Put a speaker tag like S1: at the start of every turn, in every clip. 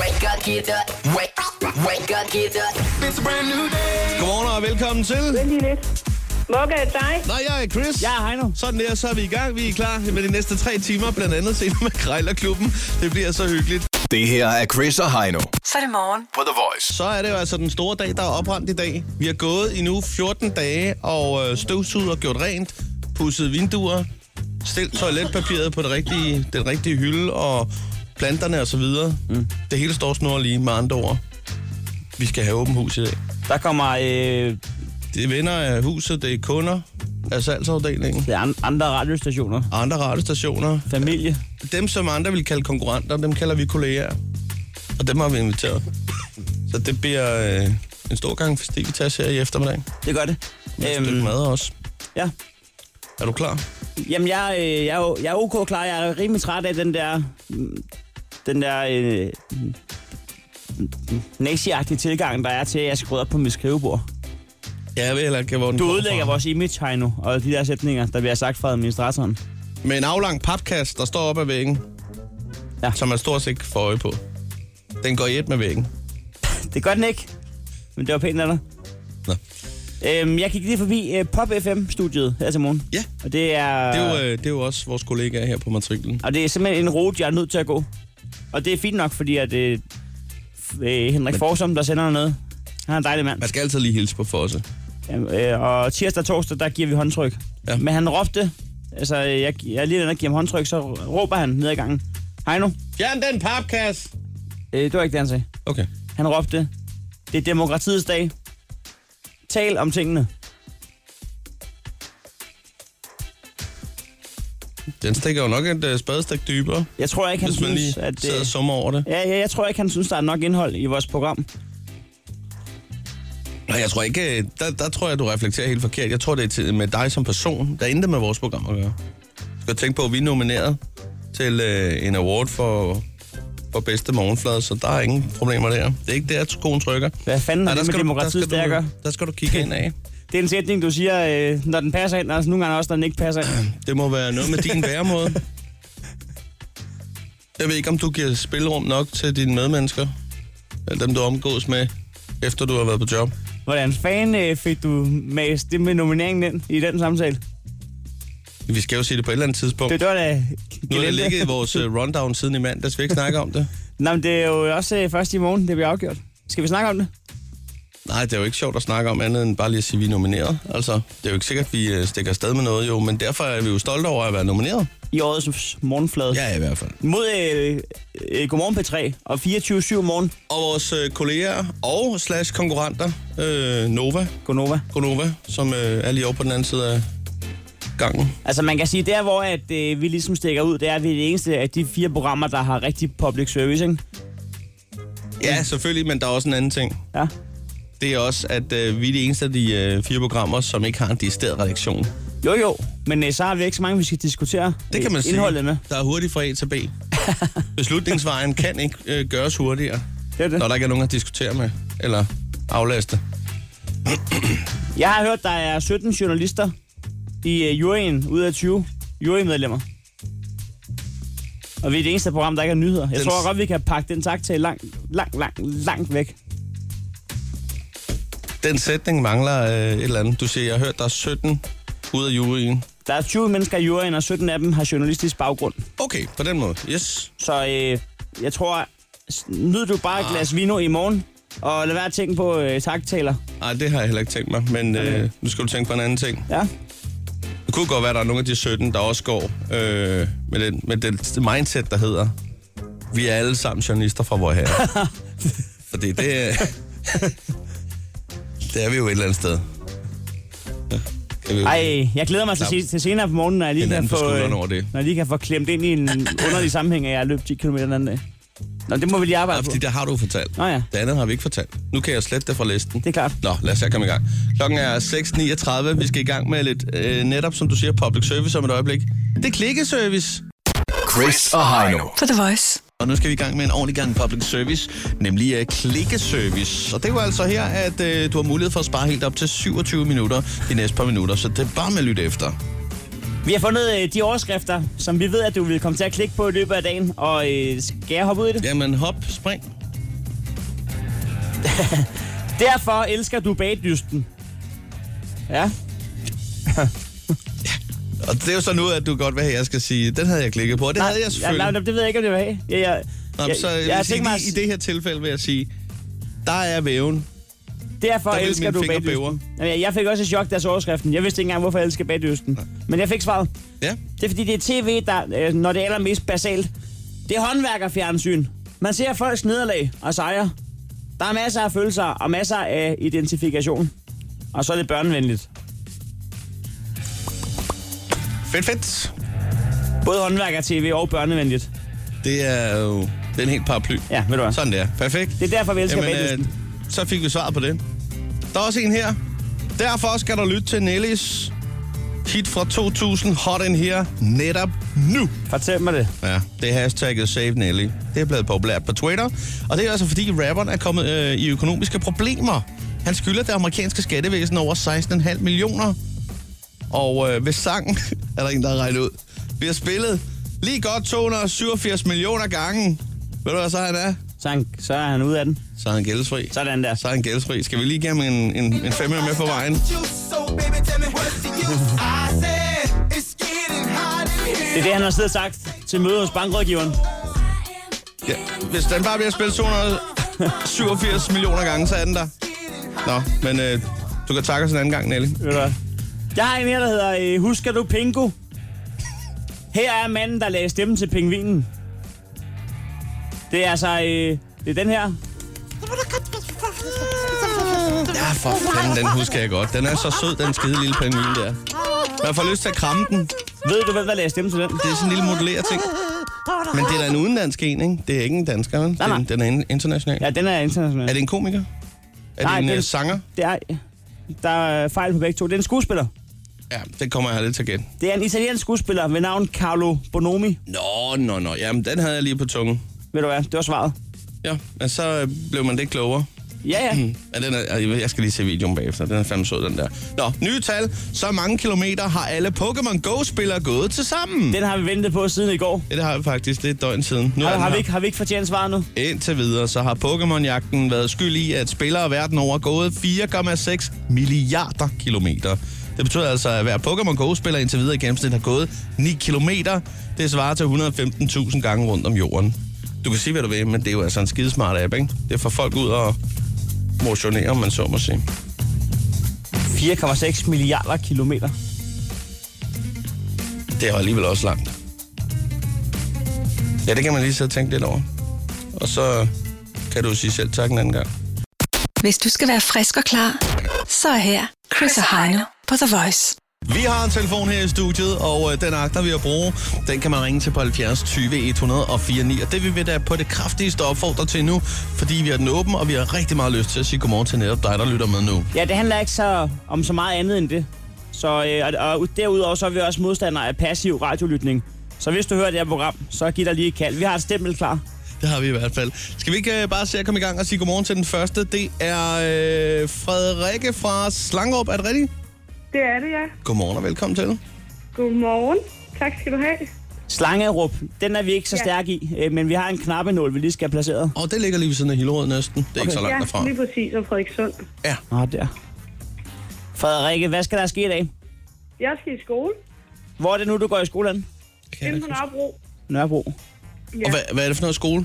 S1: Wake up, get up. Wake, wake up, get up. It's a brand new day.
S2: Godmorgen og velkommen til.
S3: Vent lige lidt. Mokka, er det dig?
S2: Nej, jeg er Chris.
S4: Jeg er Heino.
S2: Sådan der, så er vi i gang. Vi er klar med de næste tre timer, blandt andet senere med Krejlerklubben. Det bliver så hyggeligt.
S5: Det her er Chris og Heino
S6: Så er det morgen.
S5: på The Voice.
S2: Så er det jo altså den store dag, der er oprendt i dag. Vi har gået i nu 14 dage og øh, støvsuget og gjort rent, pudset vinduer, stillet toiletpapiret på det rigtige, den rigtige hylde og planterne og så videre. Mm. Det hele står snor lige med andre ord. Vi skal have åbent hus i dag.
S4: Der kommer øh,
S2: Det er venner af huset, det er kunder af salgsafdelingen
S4: det er an- andre radiostationer.
S2: og andre radiostationer.
S4: Familie.
S2: Dem, som andre vil kalde konkurrenter, dem kalder vi kolleger. Og dem har vi inviteret. Så det bliver øh, en stor gang festivitas her i eftermiddag.
S4: Det gør det.
S2: Øhm. Stykke mad også.
S4: ja.
S2: Er du klar?
S4: Jamen, jeg, øh, jeg, er jo- jeg er ok klar. Jeg er rimelig træt af den der... mm, Den der... Øh, nazi tilgang, der er til, at jeg skal rydde op på mit skrivebord.
S2: Ja, jeg ved heller ikke, hvor den
S4: Du
S2: kommer
S4: ødelægger
S2: fra.
S4: vores image, Heino, og de der sætninger, der bliver sagt fra administratoren.
S2: Med en aflang papkasse, der står op ad væggen, ja.
S4: Ja.
S2: som man stort set ikke får øje på. Den går i et med væggen.
S4: Det gør den ikke, men det var pænt af dig.
S2: Nå.
S4: Øhm, jeg gik lige forbi øh, Pop FM-studiet her til morgen.
S2: Ja.
S4: Og det er...
S2: Det er, jo, øh, det er jo også vores kollegaer her på matriklen.
S4: Og det er simpelthen en rute, jeg er nødt til at gå. Og det er fint nok, fordi at, øh, f- øh, Henrik Forsum, der sender noget, han er en dejlig mand.
S2: Man skal altid lige hilse på Fosse.
S4: Ja, øh, og tirsdag og torsdag, der giver vi håndtryk.
S2: Ja.
S4: Ja. Men han råbte, altså øh, jeg, jeg er lige den, der giver ham håndtryk, så råber han ned ad gangen. Hej nu.
S2: Fjern den papkasse!
S4: Øh, det var ikke det, han sagde.
S2: Okay.
S4: Han råbte, det er demokratiets dag. Tal om tingene.
S2: Den stikker jo nok et øh, spadestik dybere,
S4: Jeg tror ikke, han
S2: hvis man
S4: synes,
S2: lige
S4: at
S2: sidder og
S4: det...
S2: summer over det.
S4: Ja, ja, jeg tror ikke, han synes, der er nok indhold i vores program.
S2: Nej, jeg tror ikke, øh, der, der tror jeg, du reflekterer helt forkert. Jeg tror, det er til- med dig som person. Der er intet med vores program at gøre. Du skal tænke på, at vi er nomineret til øh, en award for, for bedste morgenflade, så der er ingen problemer der. Det er ikke der, skoen trykker.
S4: Hvad fanden har det med demokratiet
S2: der,
S4: dag
S2: skal du,
S4: at gøre?
S2: der skal du kigge ind af.
S4: Det er en sætning, du siger, øh, når den passer ind, og nogle gange også, når den ikke passer ind.
S2: Det må være noget med din væremåde. Jeg ved ikke, om du giver spilrum nok til dine medmennesker, eller dem, du omgås med, efter du har været på job.
S4: Hvordan fanden øh, fik du mast det med nomineringen ind i den samtale?
S2: Vi skal jo sige det på et eller andet tidspunkt.
S4: Det, det var da...
S2: Nu har det ligget i vores øh, rundown siden i mandags. Vi ikke snakke om det.
S4: Nå, men det er jo også øh, først i morgen, det bliver afgjort. Skal vi snakke om det?
S2: Nej, det er jo ikke sjovt at snakke om andet end bare lige at sige, at vi er nomineret. Altså, det er jo ikke sikkert, at vi øh, stikker afsted med noget, jo, men derfor er vi jo stolte over at være nomineret.
S4: I årets morgenflade.
S2: Ja, i hvert fald.
S4: Mod øh, øh, Godmorgen P3 og 24-7 morgen.
S2: Og vores øh, kolleger og slash konkurrenter, øh, Nova,
S4: Gonova.
S2: Gonova, som øh, er lige over på den anden side af gangen.
S4: Altså man kan sige, der hvor at, øh, vi ligesom stikker ud, det er, at vi er det eneste af de fire programmer, der har rigtig public service, ikke?
S2: Ja, selvfølgelig, men der er også en anden ting.
S4: Ja.
S2: Det er også, at øh, vi er de eneste af de øh, fire programmer, som ikke har en decideret redaktion.
S4: Jo jo, men øh, så har vi ikke så mange, vi skal diskutere
S2: Det kan man
S4: øh,
S2: sige.
S4: indholdet med.
S2: Der er hurtigt fra A til B. Beslutningsvejen kan ikke øh, gøres hurtigere,
S4: Det er det.
S2: når der ikke er nogen at diskutere med eller aflaste.
S4: Jeg har hørt, der er 17 journalister i øh, juryen ud af 20 jurymedlemmer. Og vi er det eneste program, der ikke er nyheder. Jeg
S2: Den-
S4: tror godt, vi kan pakke den tak til langt, langt, langt, langt væk.
S2: Den sætning mangler øh, et eller andet. Du siger, jeg har hørt, der er 17 ud af juryen.
S4: Der er 20 mennesker i juryen, og 17 af dem har journalistisk baggrund.
S2: Okay, på den måde. Yes. Ah.
S4: Så øh, jeg tror, s- nyd du bare et glas vino i morgen, og lad være at tænke på øh, taktaler.
S2: Nej, det har jeg heller ikke tænkt mig, men øh, nu skal du tænke på en anden ting.
S4: Ja,
S2: Det kunne godt være, at der er nogle af de 17, der også går øh, med, den, med det mindset, der hedder, vi er alle sammen journalister fra vor herre. Fordi det, øh, det er vi jo et eller andet sted. Ja, kan vi jo-
S4: Ej, jeg glæder mig til,
S2: Knap.
S4: se- til senere på morgenen, når jeg lige,
S2: En
S4: kan
S2: anden på
S4: få, øh,
S2: skulderen over det.
S4: når jeg lige kan få klemt ind i en underlig sammenhæng, at jeg har løbet 10 km den anden dag. Nå, det må vi lige
S2: Ja,
S4: arbejde på.
S2: fordi det har du fortalt.
S4: Nå ja.
S2: Det andet har vi ikke fortalt. Nu kan jeg slette det fra listen.
S4: Det er klart.
S2: Nå, lad os se komme i gang. Klokken er 6.39. Vi skal i gang med lidt, øh, netop som du siger, public service om et øjeblik. Det er klikkeservice.
S5: Chris og Heino.
S6: På The Voice.
S2: Og nu skal vi i gang med en ordentlig gang public service, nemlig uh, klikkeservice. Og det er jo altså her, at uh, du har mulighed for at spare helt op til 27 minutter de næste par minutter, så det er bare med at lytte efter.
S4: Vi har fundet øh, de overskrifter, som vi ved, at du vil komme til at klikke på i løbet af dagen, og øh, skal jeg hoppe ud i det?
S2: Jamen hop, spring.
S4: Derfor elsker du bagdysten. Ja,
S2: Og det er jo så nu, at du godt vil have, at jeg skal sige, den havde jeg klikket på, og det havde jeg selvfølgelig.
S4: Ja, nej, det ved jeg ikke, om det var af. Ja, ja,
S2: Nå,
S4: ja,
S2: så
S4: jeg,
S2: jeg
S4: har
S2: vil sige,
S4: tænkt mig,
S2: lige i det her tilfælde vil jeg sige, der er væven.
S4: derfor
S2: der vil
S4: elsker
S2: mine
S4: du
S2: fingre
S4: bagdysten. Jamen, jeg fik også et chok, deres overskriften. Jeg vidste ikke engang, hvorfor jeg elsker bagdysten. Men jeg fik svaret.
S2: Ja,
S4: Det er fordi, det er tv, der, øh, når det er allermest basalt. Det er håndværkerfjernsyn. Man ser folks nederlag og sejre. Der er masser af følelser og masser af identifikation. Og så er det børnevenligt.
S2: fedt, fedt.
S4: Både håndværker-tv og børnevenligt.
S2: Det er jo den helt paraply.
S4: Ja, ved du hvad?
S2: Sådan der. Perfekt.
S4: Det er derfor, vi elsker
S2: Jamen, øh,
S4: bagdysten.
S2: så fik vi svaret på det. Der er også en her. Derfor skal du lytte til Nellis hit fra 2000, Hot In Here, netop nu.
S4: Fortæl mig det.
S2: Ja, det er hashtagget Save Nelly. Det er blevet populært på Twitter, og det er altså fordi rapperen er kommet øh, i økonomiske problemer. Han skylder det amerikanske skattevæsen over 16,5 millioner. Og øh, ved sangen, er der en, der har regnet ud, bliver spillet lige godt 287 millioner gange. Ved du, hvad så han er?
S4: Så er, han, så er han ude af den.
S2: Så er han gældsfri.
S4: Sådan der.
S2: Så er han gældsfri. Skal vi lige give ham en, en, en femmer med på vejen?
S4: Det er det, han har siddet og sagt til møde hos bankrådgiveren.
S2: Ja. Hvis den bare bliver spillet 287 millioner gange, så er den der. Nå, men øh, du kan takke os en anden gang, Nelly.
S4: Ved du hvad? Jeg har en her, der hedder øh, Husker du Pingo? Her er manden, der lagde stemmen til pingvinen. Det er altså... Øh, det er den her.
S2: Ja, for fanden, den husker jeg godt. Den er så sød, den skide lille pingvin der. Man får lyst til at kramme den.
S4: Ved du, hvem der lagde stemmen til den?
S2: Det er sådan en lille modelleret ting. Men det er da en udenlandsk en, ikke? Det er ikke en dansker, vel?
S4: Nej, nej.
S2: Den, den er in- international.
S4: Ja, den er international.
S2: Er det en komiker? Er
S4: Nej,
S2: det en
S4: det-
S2: øh, sanger?
S4: det er, der er fejl på begge to. Det er en skuespiller.
S2: Ja, det kommer jeg lidt til igen.
S4: Det er en italiensk skuespiller ved navn Carlo Bonomi.
S2: Nå, nå, nå. Jamen, den havde jeg lige på tungen.
S4: Ved du hvad? Det var svaret.
S2: Ja, men så øh, blev man lidt klogere.
S4: Ja, ja.
S2: Mm. Ja, den er, jeg skal lige se videoen bagefter. Den er fandme sød, den der. Nå, nye tal. Så mange kilometer har alle Pokémon Go-spillere gået til sammen. Det,
S4: Den har vi ventet på siden i går.
S2: ja, det har vi faktisk. Det er et døgn siden. Nu er
S4: Har,
S2: den
S4: har, vi
S2: her.
S4: ikke, har vi ikke fortjent svaret nu?
S2: Indtil videre, så har Pokémon-jagten været skyld i, at spillere verden over er gået 4,6 milliarder kilometer. Det betyder altså, at hver Pokémon Go-spiller indtil videre i gennemsnit har gået 9 kilometer. Det svarer til 115.000 gange rundt om jorden. Du kan sige, hvad du vil, men det er jo altså en skidesmart app, ikke? Det får folk ud og motionere, om man så må sige.
S4: 4,6 milliarder kilometer.
S2: Det er alligevel også langt. Ja, det kan man lige sidde og tænke lidt over. Og så kan du sige selv tak en anden gang.
S6: Hvis du skal være frisk og klar, så er her Chris og Heino på The Voice.
S2: Vi har en telefon her i studiet, og øh, den agter vi at bruge. Den kan man ringe til på 70 20 104 9, og det vil vi da på det kraftigste opfordre til nu, fordi vi har den åben, og vi har rigtig meget lyst til at sige godmorgen til netop dig, der lytter med nu.
S4: Ja, det handler ikke så om så meget andet end det. Så, øh, og, og derudover så er vi også modstandere af passiv radiolytning. Så hvis du hører det her program, så giv dig lige et kald. Vi har et stempel klar.
S2: Det har vi i hvert fald. Skal vi ikke øh, bare se at komme i gang og sige godmorgen til den første? Det er øh, Frederikke fra Slangerup. Er det rigtigt?
S3: Det er det, ja.
S2: Godmorgen og velkommen til.
S3: Godmorgen. Tak skal du have.
S4: Slangerup, den er vi ikke så
S3: Ja.
S4: stærke i, øh, men vi har en knappenål, vi lige skal have placeret.
S2: Og det ligger lige ved siden af Hillerød næsten. Det er okay. ikke så langt
S3: Ja,
S2: derfra.
S3: lige præcis, og Frederikssund.
S2: Ja.
S4: Nå, der. Frederikke, hvad skal der ske i dag?
S3: Jeg skal i skole.
S4: Hvor er det nu, du går i skole hen?
S2: Kan jeg
S3: Inde
S2: ikke
S3: på
S2: huske.
S3: Nørrebro.
S4: Nørrebro.
S3: Ja,
S2: Og hvad, hvad er det for noget skole?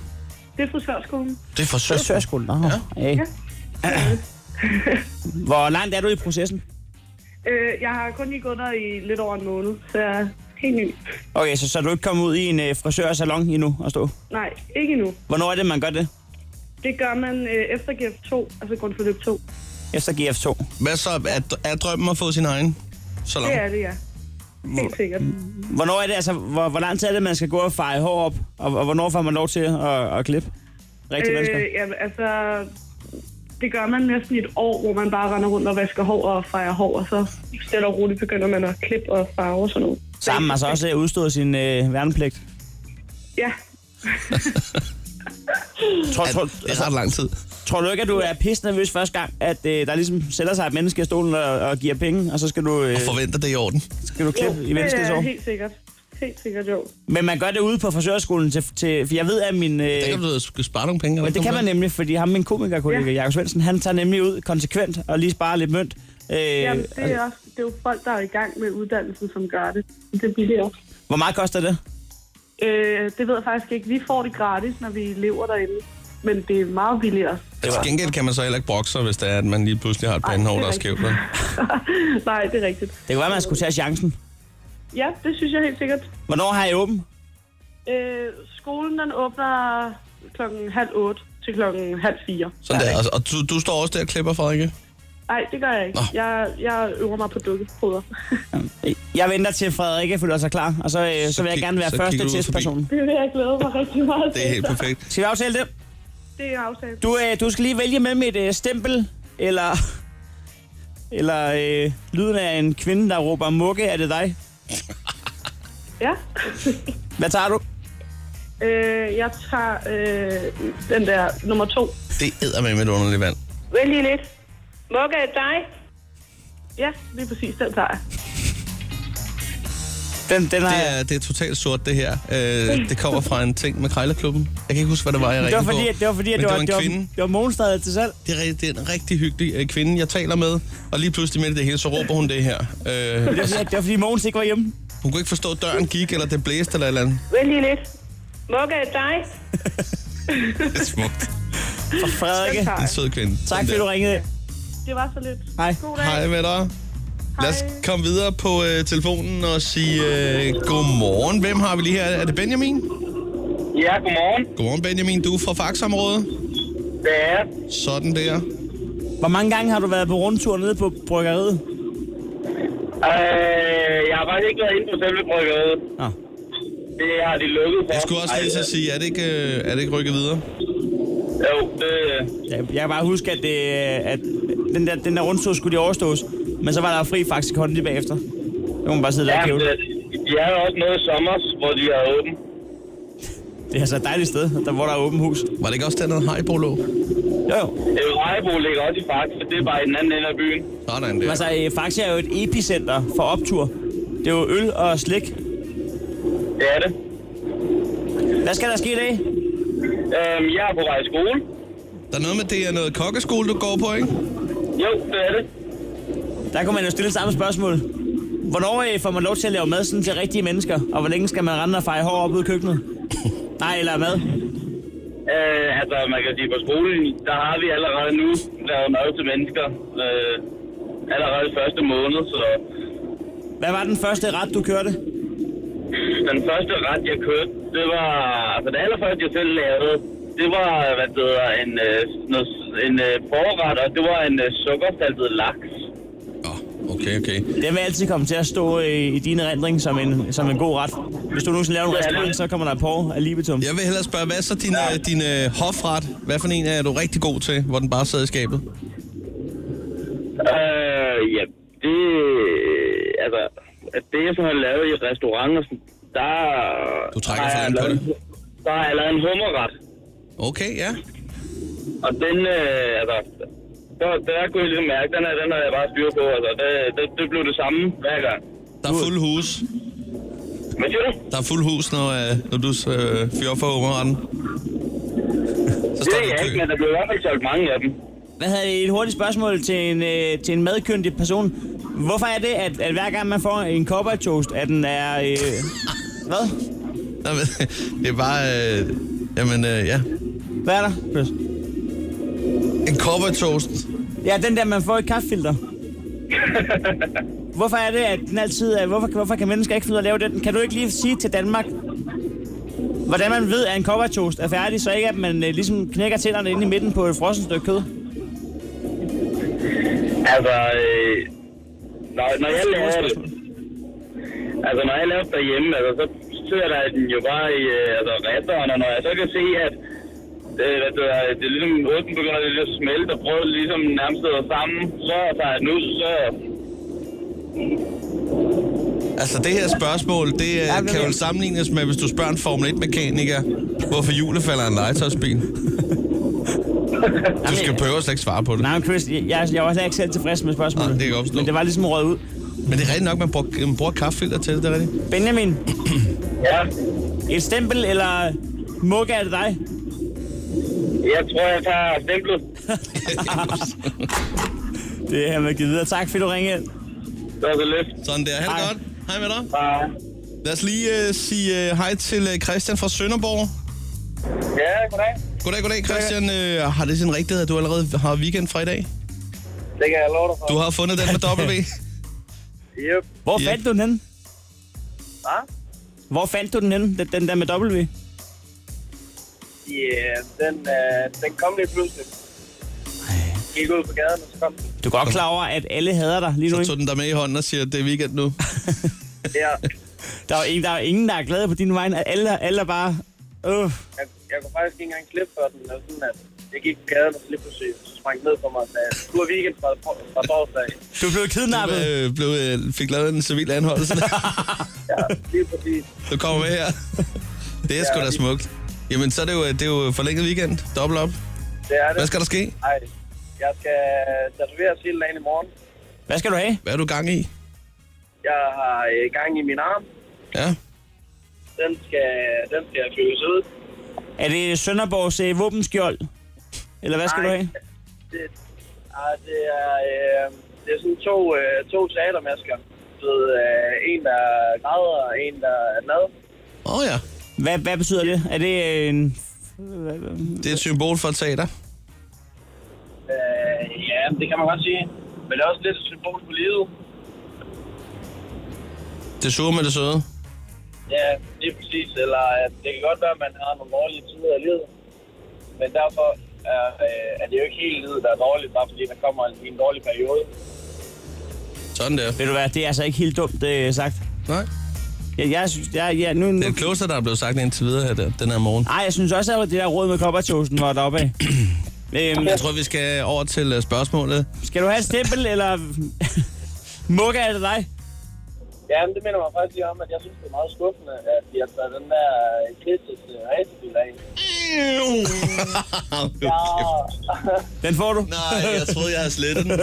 S3: det er frisørskolen.
S2: Det er frisør.
S4: Frisørskolen. Nå, ja. Hvor langt er du i processen?
S3: Øh, jeg har kun lige gået der i lidt over en måned, så jeg er helt ny.
S4: Okay, så, så er du ikke kommet ud i en øh, frisørsalon endnu og stå.
S3: Nej, ikke endnu.
S4: Hvornår er det, man gør det?
S3: Det gør man øh, efter GF2, altså grundforløb 2.
S4: Efter GF2.
S2: Hvad så? Er, er drømmen at få sin egen? Så langt.
S3: Det er det, ja. Helt sikkert.
S4: Hvornår er det, altså, hvor, hvor lang tid er det, man skal gå og feje hår op, og, og hvornår får man lov til at, at klippe? Rigtig øh,
S3: Øh, ja, altså, det gør man næsten i et år, hvor man bare render rundt og vasker hår og fejrer hår, og så stille og roligt begynder man at klippe og farve og sådan noget.
S4: Sammen altså også øh, udstået sin øh, værnepligt.
S3: Ja,
S4: Tror,
S2: At,
S4: tror,
S2: det er ret lang tid.
S4: tror du ikke, at du er pisse nervøs første gang, at øh, der ligesom sætter sig et menneske i stolen og, og giver penge, og så skal du, øh,
S2: Forventer det er i orden.
S4: skal du klippe i
S3: det
S4: menneskets
S3: er
S4: år?
S3: helt sikkert. Helt sikkert jo.
S4: Men man gør det ude på frisørskolen, til, til, for jeg ved, at min...
S2: Det kan
S4: Øh,
S2: du da sgu spare nogle penge. er der
S4: men det
S2: ikke
S4: kan man
S2: nogen
S4: nemlig, fordi ham, min komikerkollega, ja. Jakob Svendsen, han tager nemlig ud konsekvent og lige sparer lidt mønt. Øh,
S3: Jamen, det
S2: altså-
S3: er, også, det er jo folk, der er i gang med uddannelsen, som gør det. Det bliver jo.
S4: Hvor meget koster det?
S3: Øh, det ved jeg faktisk ikke. Vi får det gratis, når vi lever derinde. Men det er meget billigere.
S2: der? Til gengæld kan man så heller ikke brokke sig, hvis det er, at man lige pludselig har et pandehår,
S3: det er
S2: der er
S3: rigtigt.
S2: skævt. vel?
S3: Nej, det er rigtigt.
S4: Det kan være, man skulle tage chancen.
S3: Ja, det synes jeg helt sikkert.
S4: Hvornår har I åben?
S3: Øh, skolen den åbner klokken halv otte til klokken halv fire.
S2: Sådan der. Og- Og du, du står også der og klipper, Frederikke.
S3: Nej, det gør jeg ikke.
S2: Nå.
S3: Jeg, jeg øver mig på dukkefoder.
S4: Jeg venter til Frederikke føler sig klar, og så, øh, så,
S2: Så
S4: vil jeg
S2: kig-
S4: gerne være
S2: så
S4: første
S2: kigger du ud
S4: testperson.
S3: det vil jeg glæde mig rigtig meget
S2: Det er helt perfekt.
S4: Skal vi aftale det?
S3: Det er aftalt.
S4: Du, øh, du skal lige vælge mellem et øh, stempel, eller, eller øh, lyden af en kvinde, der råber, Mukke, er det dig?
S3: Ja.
S4: Hvad tager du?
S3: øh, jeg tager øh, den der nummer to.
S2: Det æder med et underligt vand.
S3: Vælg lige lidt. Mokka er dig. Ja, lige præcis, den tager jeg.
S4: Den, den har
S2: Det
S4: jeg.
S2: er, det er totalt sort, det her. Øh, det kommer fra en ting med Krejlerklubben. Jeg kan ikke huske, hvad det var, jeg
S4: Det var
S2: ringede
S4: fordi,
S2: på.
S4: at, det var fordi, at
S2: Men
S4: det, var,
S2: en
S4: det var,
S2: kvinde.
S4: det var Mogens, der havde til salg.
S2: Det er, rigtig- det er en rigtig hyggelig øh, kvinde, jeg taler med. Og lige pludselig midt i det hele, så råber hun det her. Øh,
S4: Det var, fordi, at- det var fordi, Mogens ikke var hjemme.
S2: hun kunne ikke forstå, at døren gik, eller det blæste, eller et eller andet.
S3: Vælg lige lidt. Mokka er dig.
S2: Det er smukt.
S4: Og Frederikke,
S3: Den tager
S2: En
S3: jeg.
S2: sød kvinde. øh,
S4: tak
S2: Sådan
S4: fordi du
S2: der.
S4: ringede.
S3: Det var så lidt.
S4: Hej.
S3: God dag.
S2: Hej med dig. Lad os
S3: Hej.
S2: komme videre på øh, telefonen og sige øh, godmorgen. Hvem har vi lige her? Er det Benjamin?
S7: Ja, godmorgen.
S2: Godmorgen Benjamin, du er fra Faxområdet.
S7: Det er
S2: Sådan der.
S4: Hvor mange gange har du været på rundtur nede på bryggeriet?
S7: øh, Jeg har faktisk ikke været inde på selve bryggeriet.
S4: Nå.
S7: Det har de lukket for.
S2: Jeg skulle også lige så sige, er det ikke, øh, er det ikke rykket videre?
S7: Jo, det...
S4: Jeg, jeg kan bare huske, at, det, at den, der, den der rundtur skulle de overstås. Men så var der fri faktisk hånd lige bagefter. Så kunne man bare sidde der
S7: Ja, øh,
S4: og kævle.
S7: det, de har jo også noget i sommer, hvor de har åbent.
S4: Det er altså et dejligt sted, der, hvor der er åbent hus.
S2: Var det ikke også dernede Haribo lå?
S4: Jo, jo.
S7: Øh, Rejbo ligger også i Faxe, det er bare i den anden ende af byen.
S2: Sådan der.
S4: Altså, øh, Faxe er jo et epicenter for optur. Det er jo øl og slik.
S7: Det er det.
S4: Hvad skal der ske i dag?
S7: Øhm, jeg er på vej i skole.
S2: Der er noget med, det er noget kokkeskole, du går på, ikke?
S7: Jo, det er det.
S4: Der kunne man jo stille samme spørgsmål. Hvornår øh, får man lov til at lave mad sådan til rigtige mennesker? Og hvor længe skal man rende og feje hår op ude i køkkenet? Nej, eller mad.
S7: Øh, altså, man kan sige, på skolen, der har vi allerede nu lavet mad til mennesker. Øh, allerede første måned, så
S4: Hvad var den første ret, du kørte?
S7: den første ret, jeg kørte, det var... Altså, det allerførste, jeg selv lavede, det var, hvad det hedder, en, øh, noget, en øh, forret, og det var en øh, sukkersaltet laks.
S2: Åh, oh, okay, okay.
S4: Den vil altid komme til at stå øh, i din erindring som en, som en god ret. Hvis du nogensinde laver en
S7: Ja, det-
S4: restaurant, så kommer der på af libetum.
S2: Jeg vil hellere spørge, hvad er så din, øh, din øh, hofret? Hvad for en er du rigtig god til, hvor den bare sidder i skabet?
S7: Øh, ja, det... Altså, at det, jeg så har lavet i restauranter, der...
S2: Du trækker
S7: der har
S2: for
S7: jeg
S2: langt på
S7: lavet- Der har jeg lavet en hummerret,
S2: Okay, ja.
S7: og den, øh, altså... Der, der kunne jeg ligesom mærke, den her, den har jeg bare styr på, altså. Det, det, det blev det samme hver gang.
S2: Der er fuld hus.
S7: Hvad siger du?
S2: Der er fuld hus, når, øh, når du øh, fyrer for hummerretten. Så
S7: Det ved
S2: står du i
S7: jeg ikke,
S2: kø.
S7: men der blev i hvert fald solgt mange af dem.
S4: Hvad havde I et hurtigt spørgsmål til en, øh, til en madkyndig person? Hvorfor er det, at, at hver gang man får en cowboy toast, at den er... Øh, hvad?
S2: Nå, men, det er bare... Øh, jamen, øh, ja.
S4: Hvad er der? Chris?
S2: En cowboy toast.
S4: Ja, den der, man får i kaffefilter. hvorfor er det, at den altid er... Hvorfor, hvorfor kan mennesker ikke finde ud af at lave den? Kan du ikke lige sige til Danmark, hvordan man ved, at en cowboy toast er færdig, så ikke at man øh, ligesom knækker tænderne inde i midten på et frossen stykke kød?
S7: Altså, øh, når, når jeg laver det, altså når jeg laver det derhjemme, altså, så sidder der den jo bare i øh, altså, resterne, og når jeg så kan se, at øh, hvad det, er, det er ligesom, ryggen begynder lidt at smelte, og brødet ligesom nærmest sidder sammen, så tager jeg den ud, så...
S2: Altså, det her spørgsmål, det øh,
S4: Ja, men-
S2: kan jo sammenlignes med, hvis du spørger en Formel 1-mekaniker, hvorfor hjulet falder i en legetøjsbil. Du skal prøve at slet ikke svare på det.
S4: Nej, men Chris, jeg, jeg, jeg var slet ikke selv tilfreds med spørgsmålet.
S2: Nej, det kan jeg godt forstå.
S4: Men det var ligesom røget ud.
S2: Men det er rigtigt nok, man bruger, man bruger kaffefilter til det, det er rigtigt.
S4: Benjamin,
S8: Ja,
S4: et stempel eller mugge er det dig?
S8: jeg tror, jeg tager stemplet.
S4: Det har man givet videre. Tak, fordi du ringede ind.
S8: Så er det lidt.
S2: Sådan der. Ha' det
S4: Hej.
S2: godt. Hej med dig.
S8: Bare-
S2: Lad os lige øh, sige øh, hej til øh, Christian fra Sønderborg.
S8: Ja, goddag.
S2: Goddag, goddag Christian. Øh, har det sin rigtighed, at du allerede har weekend fra i dag?
S8: Det kan jeg love dig for.
S2: Du har fundet den med W.
S8: Yep.
S4: Hvor
S2: Ja.
S4: fandt du den henne?
S8: Hvad?
S4: Hvor fandt du den henne, den, den der med W?
S8: Yeah, den, øh, den kom lige pludselig. Gik ud på gaden, og så kom den.
S4: Du er godt klar over, at alle hader dig lige nu,
S2: Så
S4: ikke?
S2: tog den der med i hånden og siger, det er weekend nu.
S8: Ja,
S4: Der er jo ingen, der er, ingen, der er glade på din vej. Alle, alle er bare... Øh.
S8: jeg, jeg kunne faktisk ikke engang slippe for den. Og sådan, at jeg gik på gaden og så lige pludselig så sprang den ned på mig og sagde, du er weekend fra, fra torsdag.
S4: Du blev kidnappet.
S2: Øh, blev, øh, fik lavet en civil anholdelse.
S8: Ja, lige præcis.
S2: Du kommer med her. Det er sgu da smukt. Jamen, så er det jo, øh, det er jo forlænget weekend. Dobbelt op.
S8: Det er det.
S2: Hvad skal der ske?
S8: Ej, jeg skal tatoveres hele dagen i morgen.
S4: Hvad skal du have?
S2: Hvad er du gang i?
S8: Jeg har øh, gang i min arm.
S2: Ja.
S8: Den skal, den skal jeg fyldes ud.
S4: Er det Sønderborgs øh, våbenskjold? Eller hvad skal
S8: Nej.
S4: du have?
S8: Det, ah, det, er, øh, det er sådan to, øh, to teatermasker. Du ved, øh, en, der græder, og en, der er glad.
S2: Åh oh, ja.
S4: Hvad, hvad betyder det? Er det øh, en... hvad- hvad-
S2: Det er et symbol for et teater.
S8: Øh, ja, det kan man godt sige. Men det er også lidt et symbol på livet.
S2: Det sure med det søde.
S8: Ja, lige præcis. Eller at det kan godt være, at man har nogle dårlige tider i livet. Men derfor er, øh, er det jo ikke hele livet, der er dårligt, bare fordi der kommer en, en dårlig periode.
S2: Sådan der.
S4: Ved du hvad, det er altså ikke helt dumt øh, sagt.
S2: Nej.
S4: Jeg, jeg synes, jeg, jeg, nu, nu,
S2: Det er det klogeste, der er blevet sagt indtil videre her der, den her morgen.
S4: Ej, jeg synes også, at det der råd med koppertosen var deroppe af. øhm,
S2: Jeg tror, vi skal over til øh, spørgsmålet.
S4: skal du have et stempel, eller... Mugge er det dig?
S8: Ja, men det minder mig faktisk lige om, at jeg synes, det er meget skuffende, at de har taget den der Christus racerbil af. Ja,
S4: Den får du.
S2: Nej, jeg troede, jeg havde slettet den.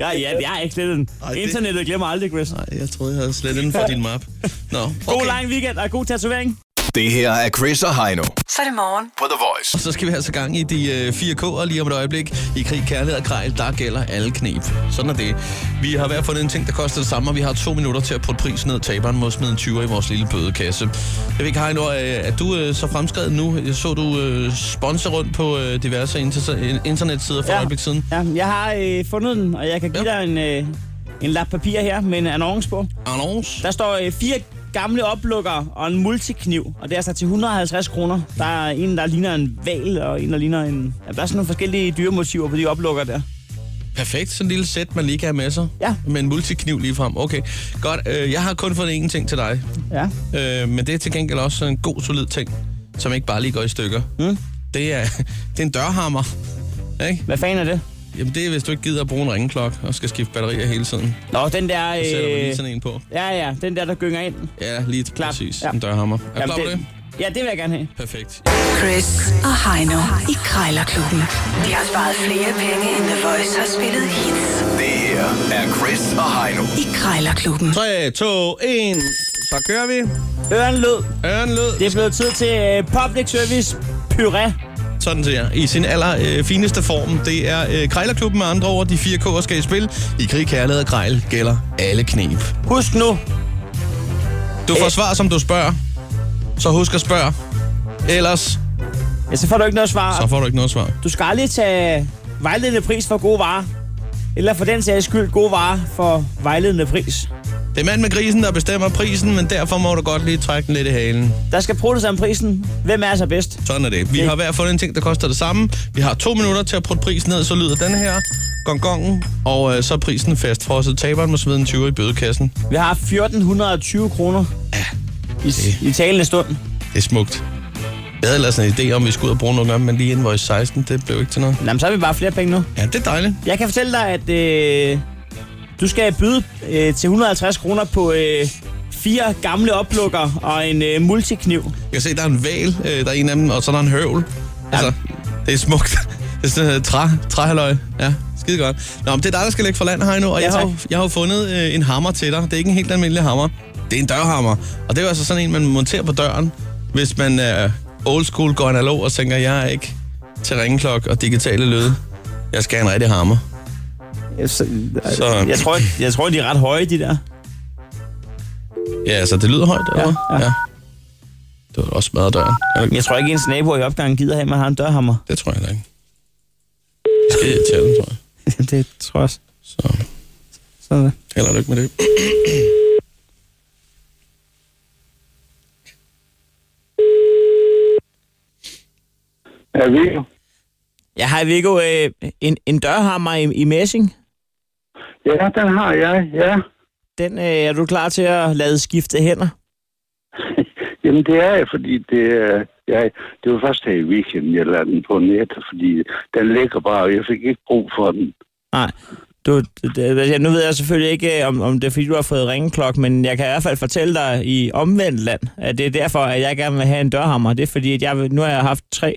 S4: Ja, ja, jeg har ikke slettet den.
S2: det-
S4: Internettet glemmer aldrig, Chris.
S2: Nej, jeg troede, jeg havde slettet den fra din map. Nå,
S4: God
S2: okay.
S4: lang weekend og god tatovering.
S5: Det her er Chris og Heino
S6: Så er det morgen.
S5: på The Voice.
S2: Så skal vi altså gang i de øh, 4K'er lige om et øjeblik. I krig, kærlighed og krejl, der gælder alle knep. Sådan er det. Vi har hver fundet en ting, der koster det samme, og vi har to minutter til at putte prisen ned. Taberen må smide en 20 i vores lille bødekasse. Jeg ved ikke, Heino, øh, er du øh, så fremskrevet nu? Jeg så du øh, sponsor rundt på øh, diverse inter- internetsider for ja. øjeblik siden.
S4: ja, jeg har øh, fundet den, og jeg kan give
S2: Ja.
S4: ja. dig en, øh, en lap papir her med en annonce på.
S2: Annonce?
S4: Der står øh, fire gamle oplukker og en multikniv, og det er altså til 150 kroner. Der er en, der ligner en val, og en, der ligner en... Ja, der er sådan nogle forskellige dyremotiver på de oplukker der.
S2: Perfekt, sådan en lille sæt, man lige kan have med sig.
S4: Ja.
S2: Med en multikniv lige frem. Okay, godt. Øh, jeg har kun fundet én ting til dig.
S4: Ja.
S2: Øh, men det er til gengæld også en god, solid ting, som ikke bare lige går i stykker. Mm. Det, er, det er en dørhammer. Ikke?
S4: Hvad fanden er det?
S2: Jamen det er, hvis du ikke gider at bruge en ringklok og skal skifte batterier hele tiden.
S4: Nå, den der...
S2: Så sætter man lige
S4: Øh,
S2: sådan en på.
S4: ja, ja, den der, der gynger ind.
S2: Ja, lige
S4: Klar.
S2: præcis.
S4: Ja.
S2: En dørhammer. Er du klar på
S4: Jamen,
S2: det?
S4: Ja, det vil jeg gerne have.
S2: Perfekt.
S6: Chris og Heino i Krejlerklubben. De har sparet flere penge, end The Voice har spillet hits
S5: Det her er Chris og Heino.
S6: i Krejlerklubben.
S2: 3, 2, 1. Så kører vi.
S4: Øren lød.
S2: Øren lød.
S4: Det er blevet tid til øh, public service puré.
S2: Sådan ser jeg. I sin aller øh, fineste form. Det er øh, Krejlerklubben med andre ord. De fire K'er skal i spil. I krig, kærlighed og krejl gælder alle knep.
S4: Husk nu, Øh.
S2: Du får svar, som du spørger. Så husk at spørge. Ellers,
S4: ja, så får du ikke noget svar.
S2: så får du ikke noget svar.
S4: Du skal aldrig tage vejledende pris for gode varer. Eller for den sags skyld gode varer for vejledende pris.
S2: Det er mand med grisen, der bestemmer prisen, men derfor må du godt lige trække den lidt i halen.
S4: Der skal prøves om prisen. Hvem er altså bedst?
S2: Sådan er det. Vi har hver fundet en ting, der koster det samme. Vi har to minutter til at putte prisen ned, så lyder den her. Gongongen, og øh, så er prisen fastfrosset. Taberen må smide en 20 i bødekassen.
S4: Vi har 1420 kroner i, i talende stund.
S2: Det er smukt. Jeg havde ellers en idé om, vi skulle ud og bruge nogle gange, men lige invoice 16, det blev ikke til noget.
S4: Jamen, så har vi bare flere penge nu.
S2: Ja, det er dejligt.
S4: Jeg kan fortælle dig, at øh, du skal byde øh, til 150 kroner på øh, fire gamle oplukker og en øh, multikniv.
S2: Jeg kan se, der er en val, øh, der er en af dem, og så er der en høvl. Altså, det er smukt. Det er sådan uh, træ, træhalløj. Ja, skide godt. Nå, men det er dig, der skal lægge for land, Heino, og
S4: Ja,
S2: jeg, har,
S4: tak.
S2: jo- jeg har jo fundet øh, en hammer til dig. Det er ikke en helt almindelig hammer. Det er en dørhammer. Og det er jo altså sådan en, man monterer på døren, hvis man øh, old school går analog og tænker, jeg er ikke til ringeklok og digitale lyde. Jeg skal have en rigtig hammer.
S4: Jeg, så,
S2: Så-
S4: jeg, tror, jeg, jeg tror, de er ret høje, de der.
S2: Ja, altså, det lyder højt, eller
S4: ja.
S2: hvad? Det var også smadret døren. Ja,
S4: Jeg tror ikke, ens nabo i opgangen gider have, at man har en dørhammer.
S2: det tror jeg heller ikke. Det skal jeg tælle, tror jeg.
S4: det tror jeg også.
S2: Så
S4: Sådan der.
S2: held og lykke med det.
S9: Ja, vi.
S4: Jeg har Viggo øh, en, en dørhammer i, i messing.
S9: Ja, den har jeg, ja.
S4: Den øh, er du klar til at lade skifte hænder?
S9: Jamen, det er jeg, fordi det, er- jeg, det var først her i weekenden, jeg lærte den på nettet, fordi den ligger bare, og jeg fik ikke brug for den.
S4: Nej. Du, det- det, jeg- nu ved jeg selvfølgelig ikke, øh, om, om det er fordi, du har fået ringeklok, men jeg kan i hvert fald fortælle dig i omvendt land, at det er derfor, at jeg gerne vil have en dørhammer. Det er fordi, at jeg, vil- nu har jeg haft tre,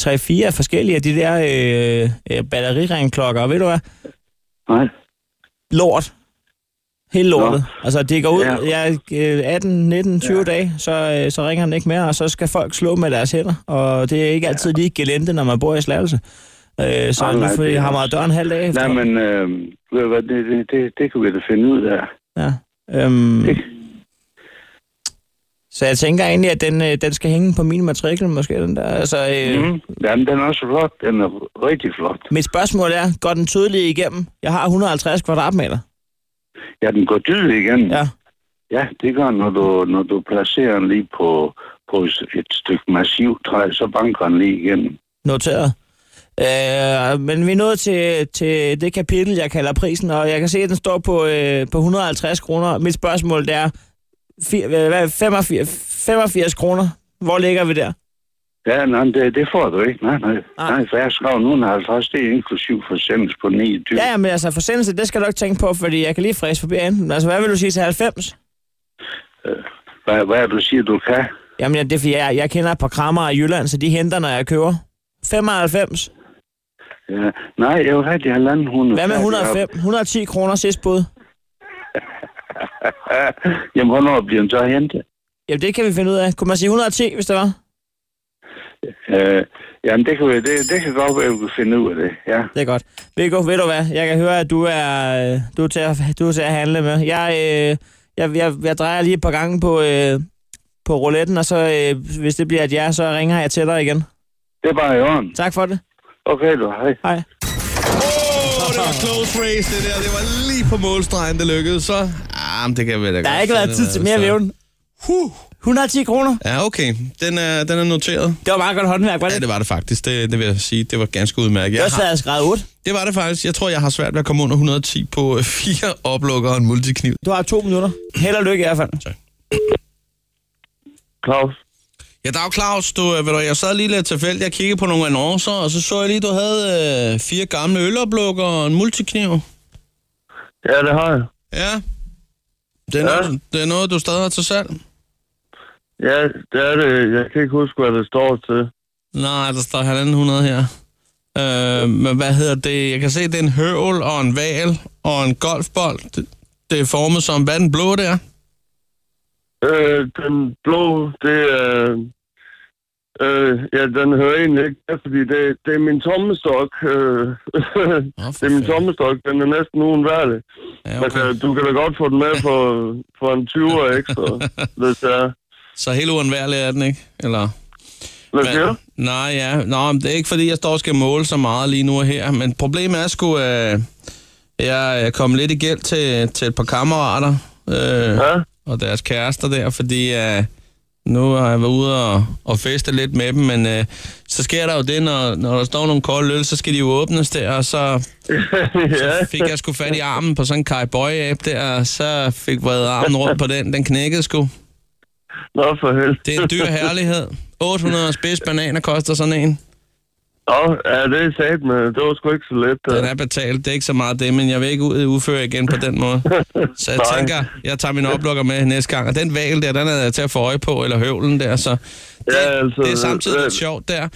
S4: tre fire forskellige af de der øh, øh, batteriringklokker, og ved du hvad?
S9: Nej.
S4: Lort. Helt lortet. Altså, det går ud
S9: Ja.
S4: ja. øh, 18, 19, 20 ja. dage, så, øh, så ringer den ikke mere, og så skal folk slå med deres hænder. Og det er ikke altid lige gelente, når man bor i Slagelse. Øh, så
S9: Nej,
S4: nu
S9: nej,
S4: får
S9: det
S4: jeg
S9: er
S4: hammer
S9: også-
S4: døren halv af.
S9: Nej, men øh, ved du hvad, det, det, det, det kan vi da finde ud af.
S4: Ja. Øhm,
S9: Det-
S4: så jeg tænker egentlig, at den, øh, den skal hænge på min matrikel, måske den der. Altså, øh, mm.
S9: Mm. Jamen, den er også flot. Den er rigtig flot.
S4: Mit spørgsmål er, går den tydeligt igennem? Jeg har 150 kvadratmeter.
S9: Ja, den går dyd igen.
S4: Ja.
S9: ja det gør den, når du, når du placerer den lige på, på et stykke massivt træ, så banker den lige igen.
S4: Noteret. Øh, men vi er nået til, til det kapitel, jeg kalder prisen, og jeg kan se, at den står på, øh, på 150 kroner. Mit spørgsmål det er, fi- hvad- hvad- 85, 85 kroner, hvor ligger vi der?
S9: Ja, nej, det, det får du ikke. Nej, nej.
S4: Nej.
S9: Nej, nej for jeg skrev nu 50, det er inklusiv forsendelse på 29.
S4: Ja, ja, men altså forsendelse, det skal du ikke tænke på, fordi jeg kan lige fræse forbi enten. Altså, hvad vil du sige til 90?
S9: Hvad, hvad er det, du siger, du kan?
S4: Jamen, ja, det er fordi, jeg, jeg kender et par krammer i Jylland, så de henter, når jeg køber. 95.
S9: Ja. Nej, jeg vil have de halvanden hunde.
S4: Hvad med 105? 110 kroner sidst bud.
S9: Jamen, hvornår bliver den så hentet?
S4: Jamen, det kan vi finde ud af. Kunne man sige 110, hvis det var?
S9: Øh, jamen, det kan, vi, det, det kan godt være, at vi kan finde ud af det. Ja.
S4: Det er godt. Viggo, ved du hvad? Jeg kan høre, at du er, øh, du er, til, at, du er til at handle med. Jeg, øh, jeg, jeg, jeg drejer lige et par gange på, øh, på rouletten, og så øh, hvis det bliver et ja, så ringer jeg til dig igen.
S9: Det er bare i orden.
S4: Tak for det.
S9: Okay, du. Hej.
S4: Hej.
S2: Åh, det var close race, det der. Det var lige på målstregen, det lykkedes. Så, ah, men det kan vi da godt.
S4: Der har ikke været
S2: finde
S4: tid
S2: ud af,
S4: til mere
S2: så.
S4: vævn. Huh. 110 kroner.
S2: Ja, okay. Den er, den er noteret.
S4: Det var meget godt håndværk, var det?
S2: Ja,
S4: Ja,
S2: det var det faktisk. Det, det vil jeg sige. Det var ganske udmærket.
S4: det
S2: Jeg
S4: var svært at skræde 8.
S2: det var det faktisk. Jeg tror, jeg har svært ved at komme under 110 på øh, fire oplukker og en multikniv.
S4: Du har to minutter. Held og lykke i hvert fald.
S9: Claus.
S2: Ja, dag Claus, du, øh, ved du, jeg sad lige lidt tilfældigt, jeg kiggede på nogle annoncer, og så så jeg lige, du havde øh, fire gamle øloplukker og en multikniv.
S9: Ja, det har jeg.
S2: Ja. Det er, ja.
S9: Ja.
S2: Noget, det er noget, du stadig har til salg?
S9: Ja, det er det. Jeg kan ikke huske, hvad det står til.
S2: Nej, der står halvanden hundrede her. Øh, men hvad hedder det? Jeg kan se, det er en høvl og en val og en golfbold. Det, det er formet som, hvad er den blå der?
S9: Øh, den blå, det er... Øh, ja, den hører egentlig ikke, med, fordi det, det er min tommestok. Øh,
S2: Åh, for
S9: det er min
S2: fanden.
S9: tommestok, den er næsten uundværlig.
S2: Ja,
S9: Men
S2: okay.
S9: øh, du kan da godt få den med for, for en 20'er ekstra, hvis det er.
S2: Så helt uundværlig er den, ikke? Eller...
S9: Hvad
S2: Men-
S9: siger du?
S2: Nej, ja. Nå, men det er ikke, fordi jeg står og skal måle så meget lige nu og her, men problemet er sgu, øh, jeg er kommet lidt i gæld til, til et par kammerater øh,
S9: Ja?
S2: og deres kærester der, fordi øh, nu har jeg været ude og, og feste lidt med dem, men øh, så sker der jo det, når, når der står nogle kolde øl, så skal de jo åbnes der, og så
S9: ja.
S2: fik jeg sgu fat i armen på sådan en kajbøj-app der, og så fik vredet armen rundt på den, den knækkede sgu.
S9: Nå, for helvede.
S2: Det er en dyr herlighed. 800 spids bananer koster sådan en.
S9: Nå, ja, det er sat, men det var sgu ikke så let.
S2: Den
S9: øh.
S2: er betalt, det er ikke så meget det, men jeg vil ikke ud i udføre igen på den måde. Så jeg
S9: Nej.
S2: tænker, jeg tager min oplukker med næste gang. Og den val der, den er jeg til at få øje på, eller høvlen der, så det,
S9: Ja, altså,
S2: det er samtidig
S9: øh,
S2: lidt sjovt der.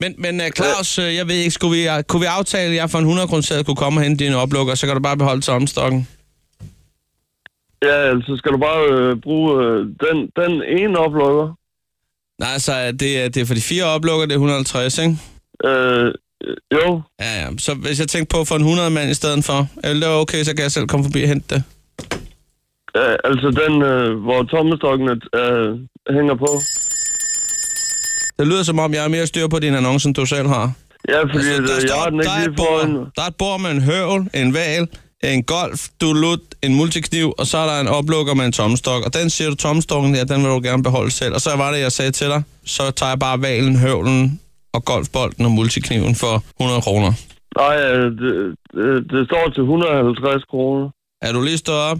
S2: Men, men øh, Claus, øh, jeg ved ikke, skulle vi, øh, kunne vi aftale, at jeg for en 100 kroner sæde kunne komme og hente din oplukker, så kan du bare beholde tomstokken?
S10: Ja, altså skal du bare øh, bruge øh, den, den ene oplukker.
S2: Nej, så er det, er- det er for de fire oplukker, det er 150, ikke?
S10: Øh, øh, jo,
S2: Ja, ja. Så hvis jeg tænker på at få en 100 mand i stedet for, er det okay, så kan jeg selv komme forbi og hente det.
S10: øh, altså den, øh, hvor tommestokken er, øh, hænger på.
S2: Det lyder som om, jeg er mere styr på din annonce, end du selv har.
S10: Ja, fordi
S2: Altså,
S10: altså, jeg har den
S2: der,
S10: ikke
S2: er et
S10: lige foran
S2: bord,
S10: mig.
S2: der er et bord med en høvl, en val, en golf, du lut, en multikniv, og så er der en oplukker med en tommestok. Og den siger du, tommestokken der, den vil du gerne beholde selv. Og så var det, jeg sagde til dig, så tager jeg bare valen, høvlen og golfbolden og multikniven for 100 kroner.
S10: Nej, øh, det, det, det står til 150 kroner.
S2: Er du lige stået op?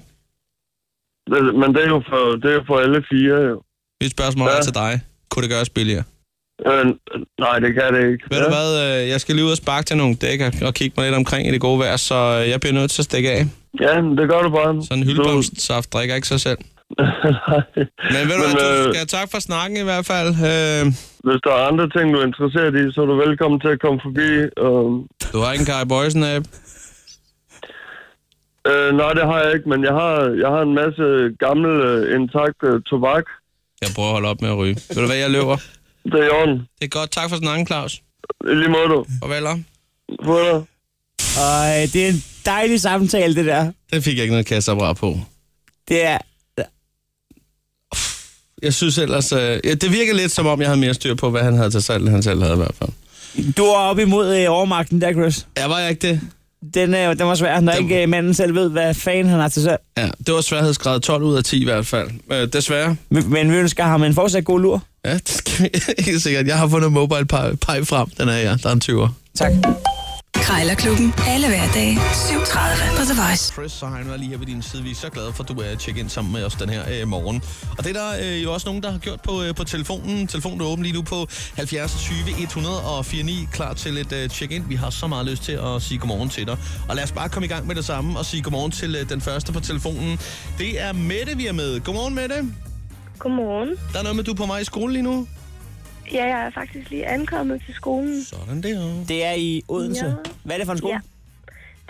S10: Det- Men det er jo for, det er jo for alle fire, jo.
S2: Mit spørgsmål ja.
S10: Ja.
S2: er til dig. Kunne det gøres billigere?
S10: Øh, nej, det kan det ikke.
S2: Ved du hvad, øh, jeg skal lige ud og sparke til nogle dæk og, og kigge mig lidt omkring i det gode vejr, så øh, jeg bliver nødt til at stikke af.
S10: Ja, men det gør du bare.
S2: Sådan en hyldblomstsaft drikker ikke sig selv. Men ved du
S10: Men,
S2: hvad, du
S10: øh,
S2: skal tak for snakken i hvert fald. Øh,
S10: Hvis der er andre ting, du er interesseret i, så er du velkommen til at komme forbi. øhm. Og,
S2: du har ikke en Kai Boysen app.
S10: øh, nej, det har jeg ikke, men jeg har, jeg har en masse gammel, øh, intakt øh, tobak.
S2: Jeg prøver at holde op med at ryge. Ved du hvad, jeg løber.
S10: Det er i orden.
S2: Det er godt. Tak for snakken, Claus.
S10: I lige måde, du.
S2: Farvel. om.
S10: Få dig.
S4: Og det er en dejlig samtale, det der.
S2: Det fik jeg ikke noget kasseapparat på.
S4: Det er...
S2: Jeg synes ellers, øh, ja, det virker lidt som om, jeg havde mere styr på, hvad han havde til salg, end han selv havde i hvert fald.
S4: Du er op imod øh, overmagten der, Chris.
S2: Ja, var jeg ikke det?
S4: Den, øh, den var svær, når
S2: Den-
S4: ikke øh, manden selv ved, hvad fanden han har til sig.
S2: Ja, det var sværhedsgrad 12 ud af 10 i hvert fald. Øh, desværre.
S4: Men, men vi ønsker ham en fortsat god lur.
S2: Ja, det skal vi helt sikkert. Jeg har fundet mobile pie, pie frem. Den er jeg. Der er en 20'er.
S4: Tak.
S6: Krejlerklubben. Alle hverdage 7.30 på The Voice.
S2: Chris Seiner er lige her ved din side. Vi er så glade for, at du er tjekket ind sammen med os den her øh, morgen. Og det er der øh, jo også nogen, der har gjort på, øh, på telefonen. Telefonen er åben lige nu på 70 20 104 9, klar til et øh, check-in. Vi har så meget lyst til at sige godmorgen til dig. Og lad os bare komme i gang med det samme og sige godmorgen til øh, den første på telefonen. Det er Mette, vi er med. Godmorgen, Mette.
S11: Godmorgen.
S2: Der er noget med, du er på mig i skole lige nu.
S11: Ja, jeg er faktisk lige ankommet til skolen.
S2: Sådan der.
S4: Det er i Odense.
S11: Ja.
S4: Hvad er det for en skole?
S11: Ja.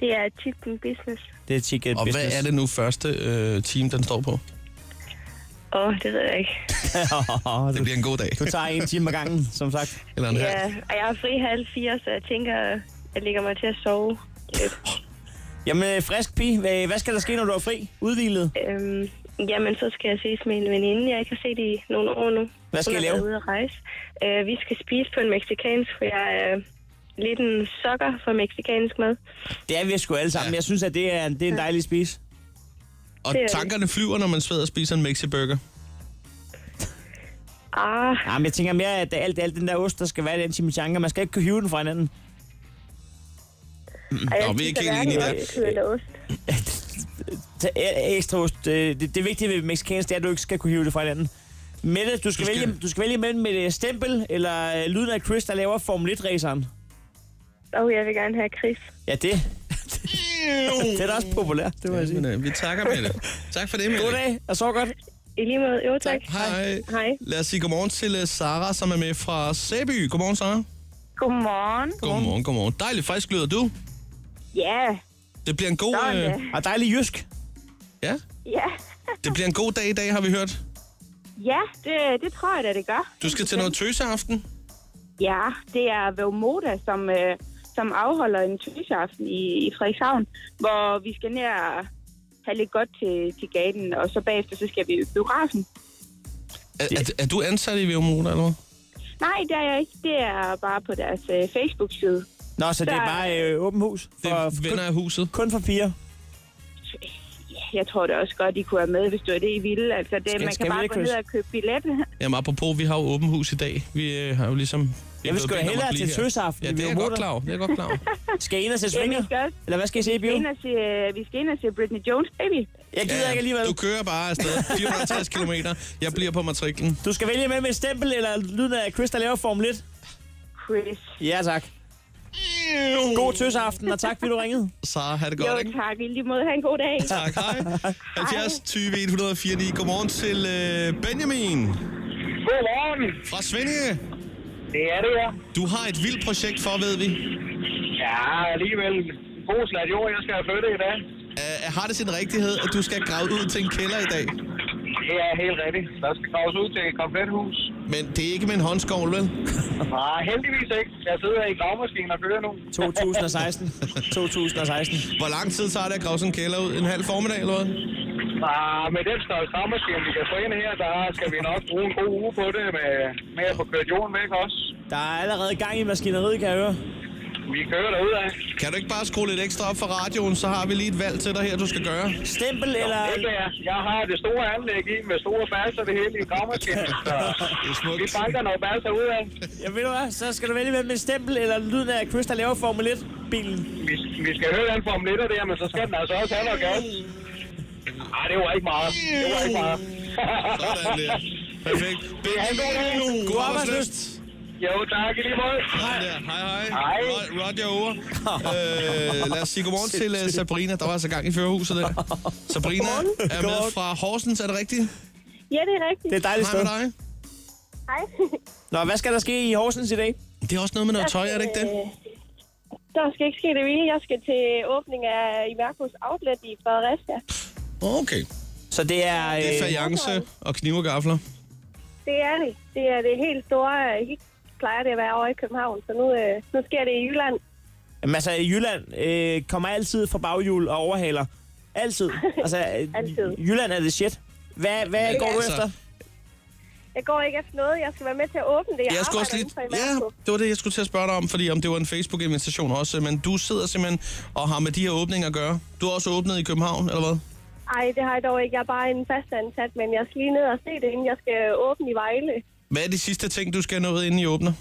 S11: Det er Chicken Business.
S4: Det er Ticket
S2: Og
S4: Business.
S2: hvad er det nu første øh, team, den står på?
S11: Åh, oh, det ved jeg ikke.
S2: Det bliver en god dag.
S4: du tager en time ad gangen, som sagt.
S2: Eller en halv.
S11: Ja, og jeg er fri halv fire, så jeg tænker, jeg ligger mig til at sove. lidt.
S4: Jamen, øh, frisk pige, hvad, hvad skal der ske, når du er fri? Udvilet?
S11: Øhm, jamen, så skal jeg ses med en veninde, jeg ikke har set i nogle år nu.
S4: Hvad skal
S11: Hun
S4: I
S11: har
S4: lave?
S11: været ude at rejse. Øh, vi skal spise på en mexikansk, for jeg er lidt en sokker for mexikansk mad.
S4: Det er vi sgu alle sammen.
S2: Ja.
S4: Jeg synes, at det er, det er en dejlig spis.
S2: Og
S11: det er det.
S2: tankerne flyver, når man sveder og spiser en Mexi-burger.
S11: Ah,
S4: Jamen, jeg tænker mere, at det er alt, alt den der ost, der skal være i den chimichanga. Man skal ikke kunne hive den fra hinanden.
S11: og Mm. jeg
S2: Nå, vi er ikke helt enige der.
S11: der.
S4: Så e- ekstra ost. øh, Det, det vigtige ved mexicansk, det er, at du ikke skal kunne hive det fra hinanden. Mette, du skal,
S2: Du
S4: du
S2: skal-
S4: skal... vælge, du skal vælge mellem med et øh, stempel eller øh, lyden af Chris, der laver Formel 1-raceren.
S11: Og jeg vil gerne have Chris.
S4: Ja, det. det er da også populært, det må jeg sige.
S2: Men, øh, vi takker, Mette. Tak for det, Mette.
S4: Goddag, og så godt.
S11: I lige måde. Jo, tak.
S2: Hej.
S11: Hej.
S2: Lad os sige godmorgen til øh, Sara, som er med fra Sæby. Godmorgen, Sara.
S11: Godmorgen.
S2: Godmorgen, godmorgen. Dejligt frisk lyder du.
S11: Ja,
S2: Det bliver en god... øh,
S11: Sådan, ja.
S4: Og dejlig jysk.
S2: ja,
S11: ja.
S2: det bliver en god dag i dag, har vi hørt.
S11: Ja, det, det tror jeg da, det gør.
S2: Du skal til noget tøseaften.
S11: Ja, det er Vomoda, som, øh, som afholder en tøseaften i, i Frederikshavn, hvor vi skal ned og have lidt godt til, til gaden, og så bagefter så skal vi i biografen.
S2: Er, er, er du ansat i Veomoda, eller hvad?
S11: Nej, det er jeg ikke. Det er bare på deres øh, Facebook-side.
S4: Nå, så det er
S11: Der-
S4: bare øh, åben hus. For,
S2: Det vender af huset.
S4: kun for piger.
S11: Ja, Jeg tror da også godt, I kunne være med, hvis det var det, I ville. Altså, det,
S4: Skal-
S11: man
S4: skal
S11: kan
S4: vi
S11: bare
S4: det,
S11: gå
S4: Chris?
S11: ned og købe billet.
S2: Jamen, apropos, vi har jo åben hus i dag. Vi øh, har jo ligesom... vi er
S4: vil
S2: blevet
S4: sgu
S2: bedt
S4: da
S2: om at
S4: hellere
S2: blive
S4: til
S2: her.
S4: tøseaften
S2: Ja,
S4: i
S2: det er jeg
S4: Veomoda.
S2: godt klar over. Det er jeg godt klar over.
S4: Skal I ind og se
S11: Jamen,
S4: svinger?
S11: vi skal også
S4: Eller hvad skal I se i
S11: vi skal ind
S4: bio?
S11: og se, øh, vi skal ind og se Britney Jones, baby.
S4: Jeg gider ikke alligevel.
S2: Du kører bare afsted. 460 km. Jeg bliver på matriklen.
S4: Du skal vælge mellem et stempel eller lyden af Chris, der laver Formel 1.
S11: Chris.
S4: Ja, tak. God tøsaften, og tak, fordi du ringede.
S2: Sara, ha' det godt, ikke?
S11: Jo, tak. I lige måde. Ha' en god dag.
S2: Tak, hej. 70 20 104 9. Godmorgen til øh, Benjamin
S10: Godmorgen.
S2: fra Svindige.
S10: Det er det, ja.
S2: Du har et vildt projekt for, ved vi.
S10: Ja, alligevel. God slat jord, jeg skal have flyttet i dag.
S2: Uh, har det sin rigtighed, at du skal grave ud til en kælder i dag?
S10: Det er helt rigtigt. Der skal graves ud til et komplet hus.
S2: Men det er ikke med en håndskovl, vel?
S10: Nej, heldigvis ikke. Jeg sidder i gravmaskinen og kører nu.
S4: 2016. 2016.
S2: Hvor lang tid tager det at grave sådan en kælder ud? En halv formiddag eller hvad?
S10: Ah, med den større gravmaskine, vi kan få ind her, der skal vi nok bruge en god uge på det med, med at få kørt jorden væk også.
S4: Der er allerede gang i maskineriet, kan jeg høre.
S10: Vi kører derudad.
S2: Kan du ikke bare skrue lidt ekstra op for radioen, så har vi lige et valg til dig her, du skal gøre.
S4: Stempel eller...
S10: Det kan jeg. Jeg har det store anlæg i med store fast og Altså, det hele i gravmaskinen. Så
S2: Det er
S10: vi
S2: smukt.
S10: banker noget baser ud af.
S4: Ja, ved du hvad? Så skal du vælge mellem en stempel eller lyden af Chris, der laver Formel 1-bilen.
S10: Vi, vi skal høre den for om lidt af det her, men så skal den altså også have noget gas. Nej, det var ikke meget. Det var ikke meget.
S2: Sådan der. Perfekt.
S10: Det er en god dag.
S2: God arbejdslyst.
S10: Jo, tak i lige måde.
S2: Sådan der. Hej, hej.
S10: Hej.
S2: Rod- Roger over. Øh, lad os sige godmorgen til øh, Sabrina. Der var altså gang i førerhuset der. Sabrina er med fra Horsens, er det rigtigt?
S11: Ja, det er rigtigt.
S4: Det er et dejligt
S2: Hej
S4: sted.
S2: med dig.
S11: Hej.
S4: Nå, hvad skal der ske i Horsens i dag?
S2: Det er også noget med noget tøj, er det ikke det?
S11: øh, Der skal ikke ske det vilde. Jeg skal til åbning af Iverkos Outlet i Fredericia.
S2: Okay.
S4: Så det er... Øh,
S2: Det er fajance og kniv og gafler.
S11: Det er det. Det er det helt store hit. Plejer det at være over i København, så nu, øh, nu sker det i Jylland.
S4: Jamen, altså, i Jylland øh, kommer altid fra baghjul og overhaler. Altid. Altså, øh,
S11: Altid.
S4: Jylland er det shit. Hvad, hvad går du
S2: altså.
S4: efter?
S11: Jeg går ikke efter noget. Jeg skal være med til at åbne det. Jeg,
S2: Jeg skulle også
S11: arbejder
S2: lige...
S11: inden for
S2: Ja,
S11: Iverco.
S2: det var det, jeg skulle til at spørge dig om, fordi om det var en Facebook-invitation også. øh, Men du sidder simpelthen og har med de her åbninger at gøre. Du har også åbnet i København, eller hvad?
S11: Ej, det har jeg dog ikke. Jeg er bare en fastansat, men jeg skal lige ned og se det, inden jeg skal åbne i Vejle.
S2: Hvad er de sidste ting, du skal have nået, inden I åbner?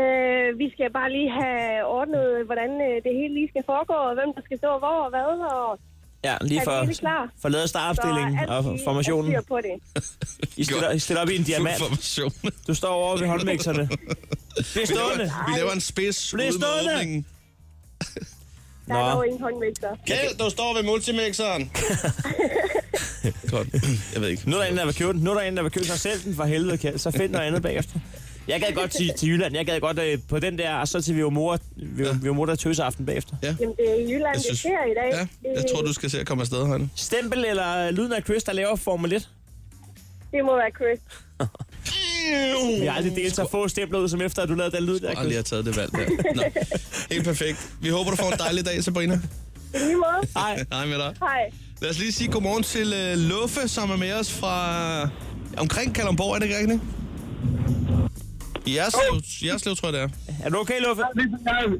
S11: Øh, vi skal bare lige have ordnet, hvordan øh, det hele lige skal foregå, og hvem der skal stå hvor og hvad, og
S4: Ja, lige
S11: er
S4: for,
S11: det hele klar?
S4: for lavet
S11: så
S4: startopstillingen
S11: alt
S4: og
S11: lige
S4: formationen.
S11: er styr på det.
S4: I stiller, I stiller op i en diamant.
S2: Information.
S4: Du står over ved håndmækserne. Det er stående.
S2: Vi laver en spids
S4: Bliv
S2: ude med
S4: stående!
S2: åbningen.
S11: Der er
S4: Nå.
S11: dog ingen håndvægter.
S2: Kjeld, du står ved multimixeren. Godt. Jeg ved ikke.
S4: Nu er der en, der vil købe den. Nu er der en, der vil købe sig selv den for helvede, Kjeld. Så find noget andet bagefter. Jeg gad godt til, til Jylland. Jeg gad godt øh, på den der, og så til vi var mor, vi, vi var mor der tøse aften bagefter.
S11: Jamen, det er i Jylland, det sker i dag.
S2: Ja, jeg tror, du skal se at komme afsted, Heine.
S4: Stempel eller lyden af Chris, der laver Formel 1.
S11: Det må være Chris.
S4: Vi har aldrig delt så få stempler ud, som efter, at du lavede den lyd der,
S2: Jeg lige
S4: Chris.
S2: har taget det valg der. Nå. Helt perfekt. Vi håber, du får en dejlig dag, Sabrina.
S11: I lige måde.
S4: Nej,
S2: Hej med dig.
S11: Hej.
S2: Lad os lige sige godmorgen til øh, Luffe, som er med os fra omkring Kalundborg, er det ikke rigtigt? Jerslev, Jerslev tror jeg, det er.
S4: er du okay, Luffe?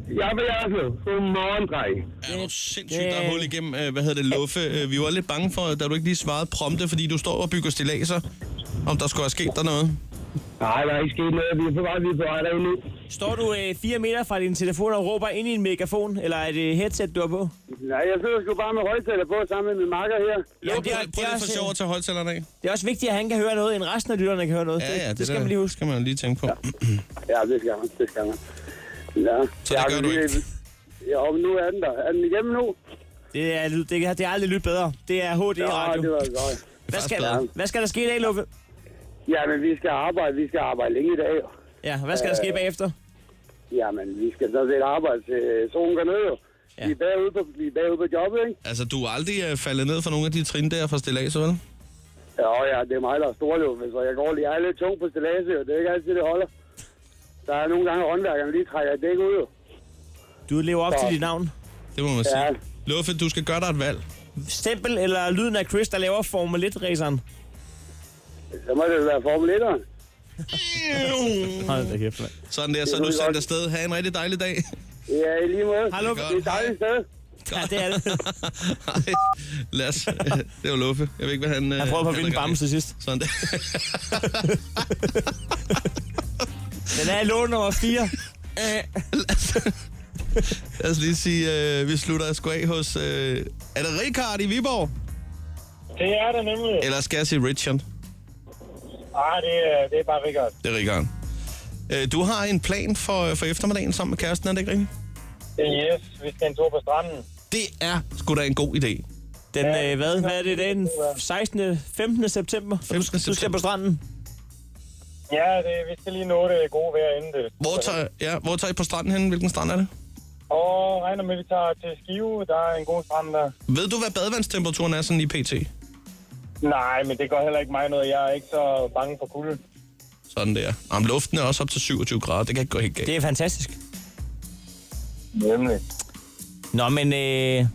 S10: Jeg vil altså. Godmorgen, dreng.
S2: Ja, det er sindssygt, der er hul igennem, øh, hvad hedder det, Luffe. Øh, Vi var lidt bange for, da du ikke lige svarede prompte, fordi du står og bygger stilaser, om der skulle have sket der noget.
S10: Nej, der er ikke sket noget. Vi er på vej, vi er på vej derinde nu.
S4: Står du øh, fire meter fra din telefon og råber ind i en megafon, eller er det headset, du har på?
S10: Nej, jeg sidder sgu bare med højtaler på sammen med min makker her.
S4: Ja,
S2: Prøv, prøv, prøv lige for
S4: også,
S2: sjov
S4: øh,
S2: at tage højtalerne af.
S4: det er også vigtigt, at han kan høre noget, end resten af lytterne kan høre noget.
S2: Ja, ja,
S4: det, det skal man lige huske.
S2: skal man lige tænke på.
S10: Ja, det skal man, det skal man. Ja.
S2: Så det gør du ikke.
S10: Ja, og nu er den der. Er den igennem nu?
S4: Det er, det, det, det er aldrig lyttet bedre. Det er HD-radio.
S10: Ja, det var godt.
S4: Hvad skal,
S2: Faktisk
S4: hvad skal der ske i dag, Luffe?
S10: Jamen, vi skal arbejde. Vi skal arbejde længe i dag. jo.
S4: Ja, hvad skal der ske bagefter?
S10: Jamen, vi skal sådan set arbejde til solen går ned. jo.
S4: Ja.
S10: Vi er bagud på, vi er bagud på jobbet, ikke?
S2: Altså, du er aldrig øh, faldet ned for nogle af de trin der fra stilaser, vel?
S10: Ja, ja, det er mig, der er storløbet, så jeg går lige. Jeg er lidt tung på stilladse, og det er ikke altid, det holder. Der er nogle gange, at håndværkerne lige trækker et dæk ud. jo.
S4: Du lever op
S10: Ja.
S4: til dit navn.
S2: Det må man
S10: Ja.
S2: sige. Luffe, du skal gøre dig et valg.
S4: Stempel eller lyden af Chris, der laver Formel 1-raceren?
S10: Så må det være Formel 1'eren.
S4: Hold da kæft, mand.
S2: Sådan der, så
S10: Det
S2: er du
S10: lyder
S2: sendt
S10: godt.
S2: afsted. Ha' en rigtig dejlig dag.
S10: Ja, i lige måde.
S4: Hallo.
S10: Det er et dejligt sted.
S4: Ja, det er det.
S2: Ej, lad os. Det var Luffe. Jeg ved ikke, hvad han...
S4: Han prøver på at vinde en bamse til sidst.
S2: Sådan der.
S4: Den er i lån nummer 4.
S2: Lad os lige sige, øh, vi slutter sgu af hos... Øh, er det Rikard i Viborg?
S10: Det er det nemlig.
S2: Eller skal jeg sige Richard?
S10: Nej, det, det er bare rigtig godt.
S2: Det er Rikard. Øh, du har en plan for, øh, for eftermiddagen sammen med kæresten, er det ikke rigtigt?
S10: Yes, vi skal en tur på stranden.
S2: Det er sgu da en god idé.
S4: Den, øh, hvad, hvad er det i dag? Den 16. 15. september.
S2: 15.
S4: Du skal på stranden.
S10: Ja, det, vi skal lige nå det gode vejr inden det.
S2: Hvor tager, ja, hvor tager I på stranden hen? Hvilken strand er det?
S10: Og regner med, at vi tager til Skive. Der er en god strand der.
S2: Ved du, hvad badevandstemperaturen er sådan i pt?
S10: Nej, men det gør heller ikke mig noget. Jeg er ikke så bange for kulde.
S2: Sådan der. Jamen, luften er også op til 27 grader. Det kan ikke gå helt galt.
S12: Det er fantastisk.
S10: Nemlig.
S12: Nå, men øh,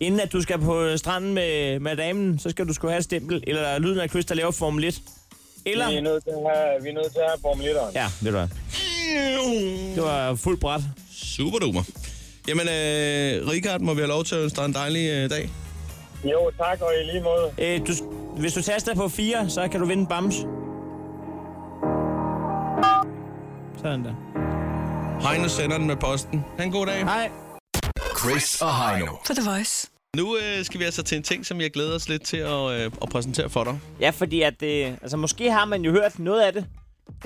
S12: inden at du skal på stranden med, med damen, så skal du skulle have et stempel, eller lyden af Chris, der laver Formel 1. Eller...
S10: Vi er nødt til at have, vi er nødt til at have Formel 1'eren.
S12: Ja, ved du hvad. Det var fuldt bræt.
S2: Super duper. Jamen, øh, Richard, må vi have lov til at ønske dig en dejlig øh, dag?
S10: Jo, tak og i lige måde.
S12: Øh, du, hvis du taster på 4, så kan du vinde en bams. Sådan der.
S2: Heino sender den med posten. Ha' en god dag.
S12: Hej.
S5: Chris og Heino.
S6: På The Voice.
S2: Nu øh, skal vi altså til en ting, som jeg glæder os lidt til at, øh, at præsentere for dig.
S4: Ja, fordi at, øh, altså måske har man jo hørt noget af det.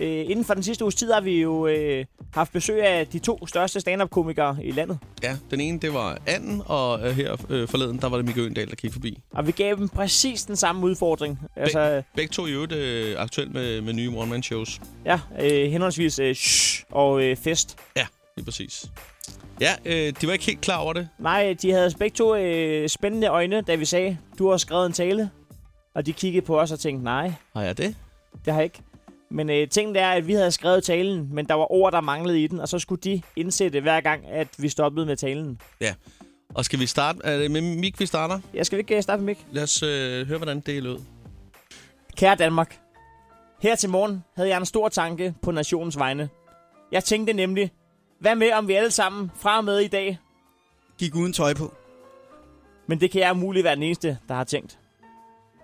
S4: Øh, inden for den sidste uges tid har vi jo øh, haft besøg af de to største stand-up-komikere i landet.
S2: Ja, den ene, det var Anden, og øh, her øh, forleden, der var det Mikke Øendal, der kiggede forbi.
S4: Og vi gav dem præcis den samme udfordring. Altså, øh,
S2: Begge to i øvrigt øh, aktuelt med, med nye one-man-shows.
S4: ja, øh, henholdsvis øh, shh og øh, fest.
S2: Ja, lige præcis. Ja, øh, de var ikke helt klar over det.
S4: Nej, de havde begge to øh, spændende øjne, da vi sagde, du har skrevet en tale. Og de kiggede på os og tænkte, nej,
S2: Har jeg det?
S4: det har jeg ikke. Men øh, tingen er, at vi havde skrevet talen, men der var ord, der manglede i den, og så skulle de indsætte hver gang, at vi stoppede med talen.
S2: Ja. Og skal vi starte? Er det med Mik, vi starter?
S4: Jeg skal vi ikke øh, starte med Mik?
S2: Lad os øh, høre, hvordan det lød.
S4: Kære Danmark, her til morgen havde jeg en stor tanke på nationens vegne. Jeg tænkte nemlig, hvad med om vi alle sammen fra og med i dag?
S7: Gik uden tøj på.
S4: Men det kan jeg umuligt være den eneste, der har tænkt.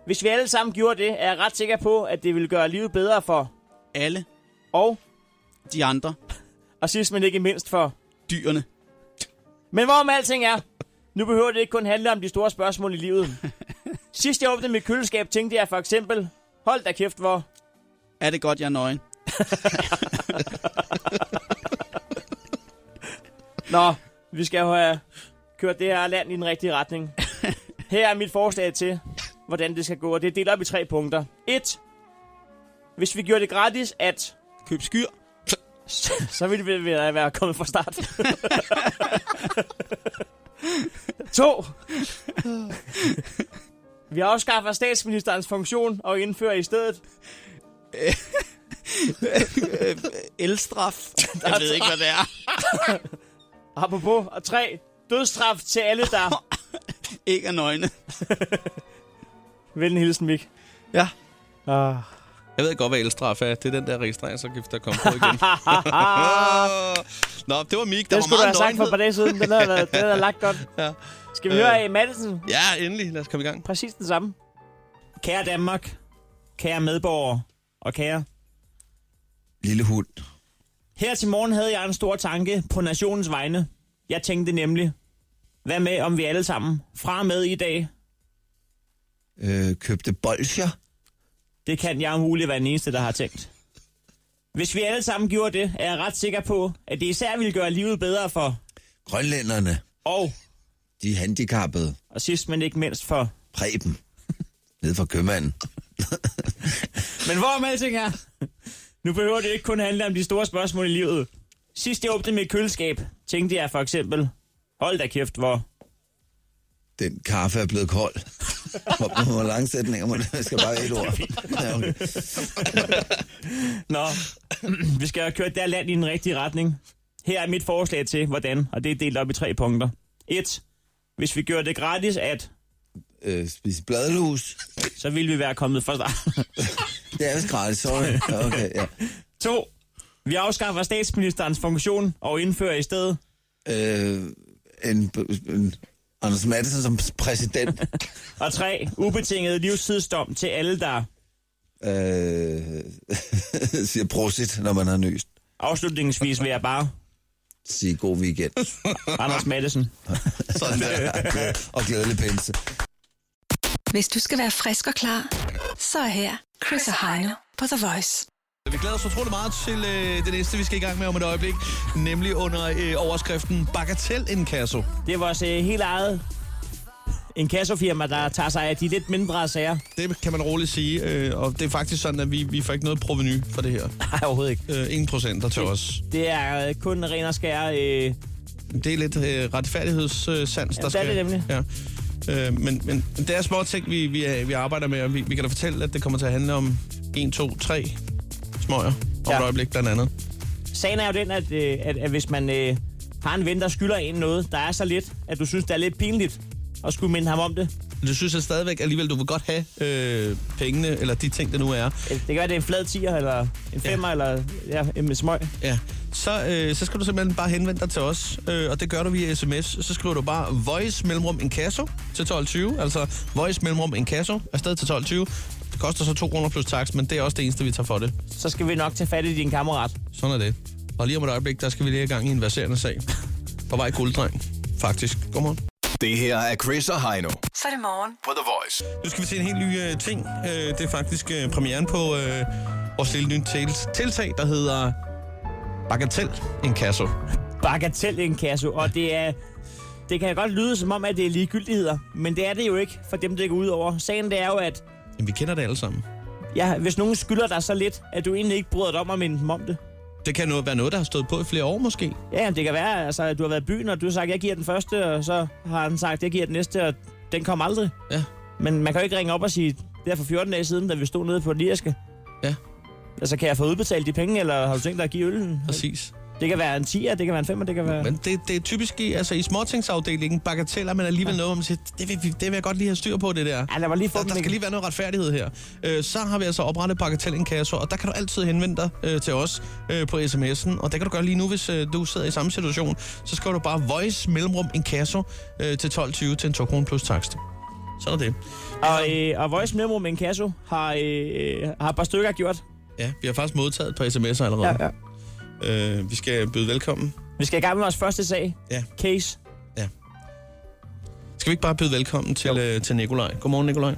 S4: Hvis vi alle sammen gjorde det, er jeg ret sikker på, at det ville gøre livet bedre for
S7: Alle
S4: og,
S7: de andre
S4: og sidst men ikke mindst for.
S7: dyrene.
S4: Men hvorom alting er, nu behøver det ikke kun handle om de store spørgsmål i livet. Sidst jeg åbnede mit køleskab, tænkte jeg for eksempel, hold da kæft, hvor
S7: Er det godt, jeg er nøgen?
S4: Nå, vi skal jo have kørt det her land i den rigtige retning. Her er mit forslag til, hvordan det skal gå, og det er delt op i tre punkter. 1. Hvis vi gjorde det gratis at,
S7: Køb skyr.
S4: så ville vi være være kommet fra start. 2. Vi afskaffer statsministerens funktion og indfører i stedet.
S7: Elstraf. Jeg ved ikke, hvad det er.
S4: Apropos. Og 3. Dødstraf til alle, der...
S7: Ikke er nøgne.
S4: Vel en hilsen, Mik.
S7: Ja.
S4: Ah.
S2: Jeg ved godt, hvad elstraf er. Det er den der registreringsafgift, der kom på igen. Nå, det var Mik. Der
S4: Den
S2: var
S4: skulle du
S2: meget
S4: have sagt for et par
S2: nøgenhed.
S4: dage siden. Den havde, været, den havde lagt godt.
S2: Ja. Øh,
S4: Skal vi høre af Madsen?
S2: Ja, endelig. Lad os komme i gang.
S4: Præcis den samme.
S12: Kære Danmark, kære medborgere og kære.
S5: Lille hund.
S12: Her til morgen havde jeg en stor tanke på nationens vegne. Jeg tænkte nemlig, hvad med om vi alle sammen fra og med i dag?
S5: Øh, købte bolsjer.
S12: Det kan jeg umuligt være den eneste, der har tænkt. Hvis vi alle sammen gjorde det, er jeg ret sikker på, at det især ville gøre livet bedre for
S5: Grønlænderne.
S12: og,
S5: De handicappede.
S12: og sidst men ikke mindst for
S5: Preben. Nede fra købmanden.
S12: Men hvor om alting er? Nu behøver det ikke kun handle om de store spørgsmål i livet. Sidst jeg åbnede mit køleskab, tænkte jeg for eksempel, hold da kæft, hvor...
S5: Den kaffe er blevet kold. Hvor, hvor lang sætning må det? Jeg skal bare et ord. Ja, okay.
S12: Nå, vi skal have kørt der land i den rigtige retning. Her er mit forslag til, hvordan, og det er delt op i tre punkter. 1. Hvis vi gjorde det gratis at,
S5: øh, spise bladlus.
S12: så ville vi være kommet fra start.
S5: Det er vist gratis, sorry. Ja, Okay, ja.
S12: 2. Vi afskaffer statsministerens funktion og indfører i stedet.
S5: Øh, en, en, Anders Madsen som præsident.
S12: Og 3. Ubetinget livstidsdom til alle, der...
S5: øh, siger prosit, når man har nøst.
S12: Afslutningsvis vil jeg bare...
S5: Sige god weekend.
S12: Anders Madsen.
S5: Sådan der. og glædelig pinse.
S6: Hvis du skal være frisk og klar, så er her Chris og Heino på The Voice.
S2: Vi glæder os utrolig meget til øh, det næste, vi skal i gang med om et øjeblik. Nemlig under øh, overskriften Bagatellindkasso.
S12: Det er vores øh, helt eget
S4: en kassofirma, der tager sig af de lidt mindre sager.
S2: Det kan man roligt sige, øh, og det er faktisk sådan, at vi, vi får ikke noget proveny for det her.
S4: Nej, overhovedet ikke.
S2: Øh, ingen procenter til os.
S4: Det er øh, kun ren og skær... Øh,
S2: Det er lidt øh, retfærdighedssans, der
S4: det er
S2: skal...
S4: det nemlig.
S2: Ja. Øh, men, men det er små ting, vi, vi, er- vi arbejder med, og vi, vi kan da fortælle, at det kommer til at handle om 1, 2, 3 smøger om ja.
S4: Ja.
S2: et øjeblik blandt andet.
S4: sagen er jo den, at, øh, at, at hvis man øh, har en ven, der skylder en noget, der er så lidt, at du synes, det er lidt pinligt at skulle minde ham om det.
S2: Men Du synes jeg stadigvæk alligevel, du vil godt have øh, pengene, eller de ting, der nu er.
S4: Det kan være, det er en flad tier, eller en femmer, ja. eller ja, en smøg.
S2: Ja. Så, øh, så skal du simpelthen bare henvende dig til os, øh, og det gør du via sms. Så skriver du bare voice mellemrum inkasso til 12.20, altså voice mellemrum inkasso afsted til 12.20. Det koster så 2 kroner plus tax, men det er også det eneste, vi tager for det.
S4: Så skal vi nok tage fat i din kammerat.
S2: Sådan er det. Og lige om et øjeblik, der skal vi lige i gang i en verserende sag. På vej gulddreng, faktisk. Godmorgen.
S5: Det her er Chris og Heino
S6: Så er det morgen.
S5: på The Voice.
S2: Nu skal vi til en helt ny øh, ting. Øh, det er faktisk øh, premieren på øh, vores lille nye tils- tiltag, der hedder Bagatell Inkasso.
S4: Bagatell inkasso, og det er... Det kan godt lyde som om, at det er ligegyldigheder, men det er det jo ikke for dem, det går ud over. Sagen det er jo, at
S2: Jamen, vi kender det alle sammen.
S4: ja, hvis nogen skylder dig så lidt, at du egentlig ikke bryder dig om at minde dem om det.
S2: Det kan noget, være noget, der har stået på i flere år måske.
S4: Ja, jamen, det kan være, altså, at du har været i byen, og du har sagt, jeg giver den første, og så har han sagt, jeg giver den næste, og den kom aldrig.
S2: Ja.
S4: Men man kan jo ikke ringe op og sige, det er for 14 dage siden, da vi stod nede på Lierske.
S2: Ja.
S4: Altså, kan jeg få udbetalt de penge, eller har du tænkt dig at give øllen?
S2: Præcis.
S4: Det kan være en 10'er, det kan være en 5'er, det kan være...
S2: Men det, det er typisk i, altså, i småtingsafdelingen, bagateller, men alligevel noget, hvor man siger, det vil, vi- det vil jeg godt lige have styr på, det der.
S4: Ja, lad mig lige få
S2: Der,
S4: den
S2: der skal
S4: igen.
S2: lige være noget retfærdighed her. Øh, så har vi altså oprettet bagatellinkasso, og der kan du altid henvende dig øh, til os øh, på sms'en. Og det kan du gøre lige nu, hvis øh, du sidder i samme situation. Så skriver du bare voice mellemrum inkasso øh, til 12.20 til en 2 kroner plus takst. Sådan er det.
S4: Og, øh, og Voice Memo med en kasso har, øh, har et par stykker gjort.
S2: Ja, vi har faktisk modtaget et par sms'er allerede. Ja. Øh, vi skal byde velkommen.
S4: Vi skal i gang med vores første sag.
S2: Ja.
S4: Case.
S2: Skal vi ikke bare byde velkommen til, øh, til Nikolaj? Godmorgen, Nikolaj.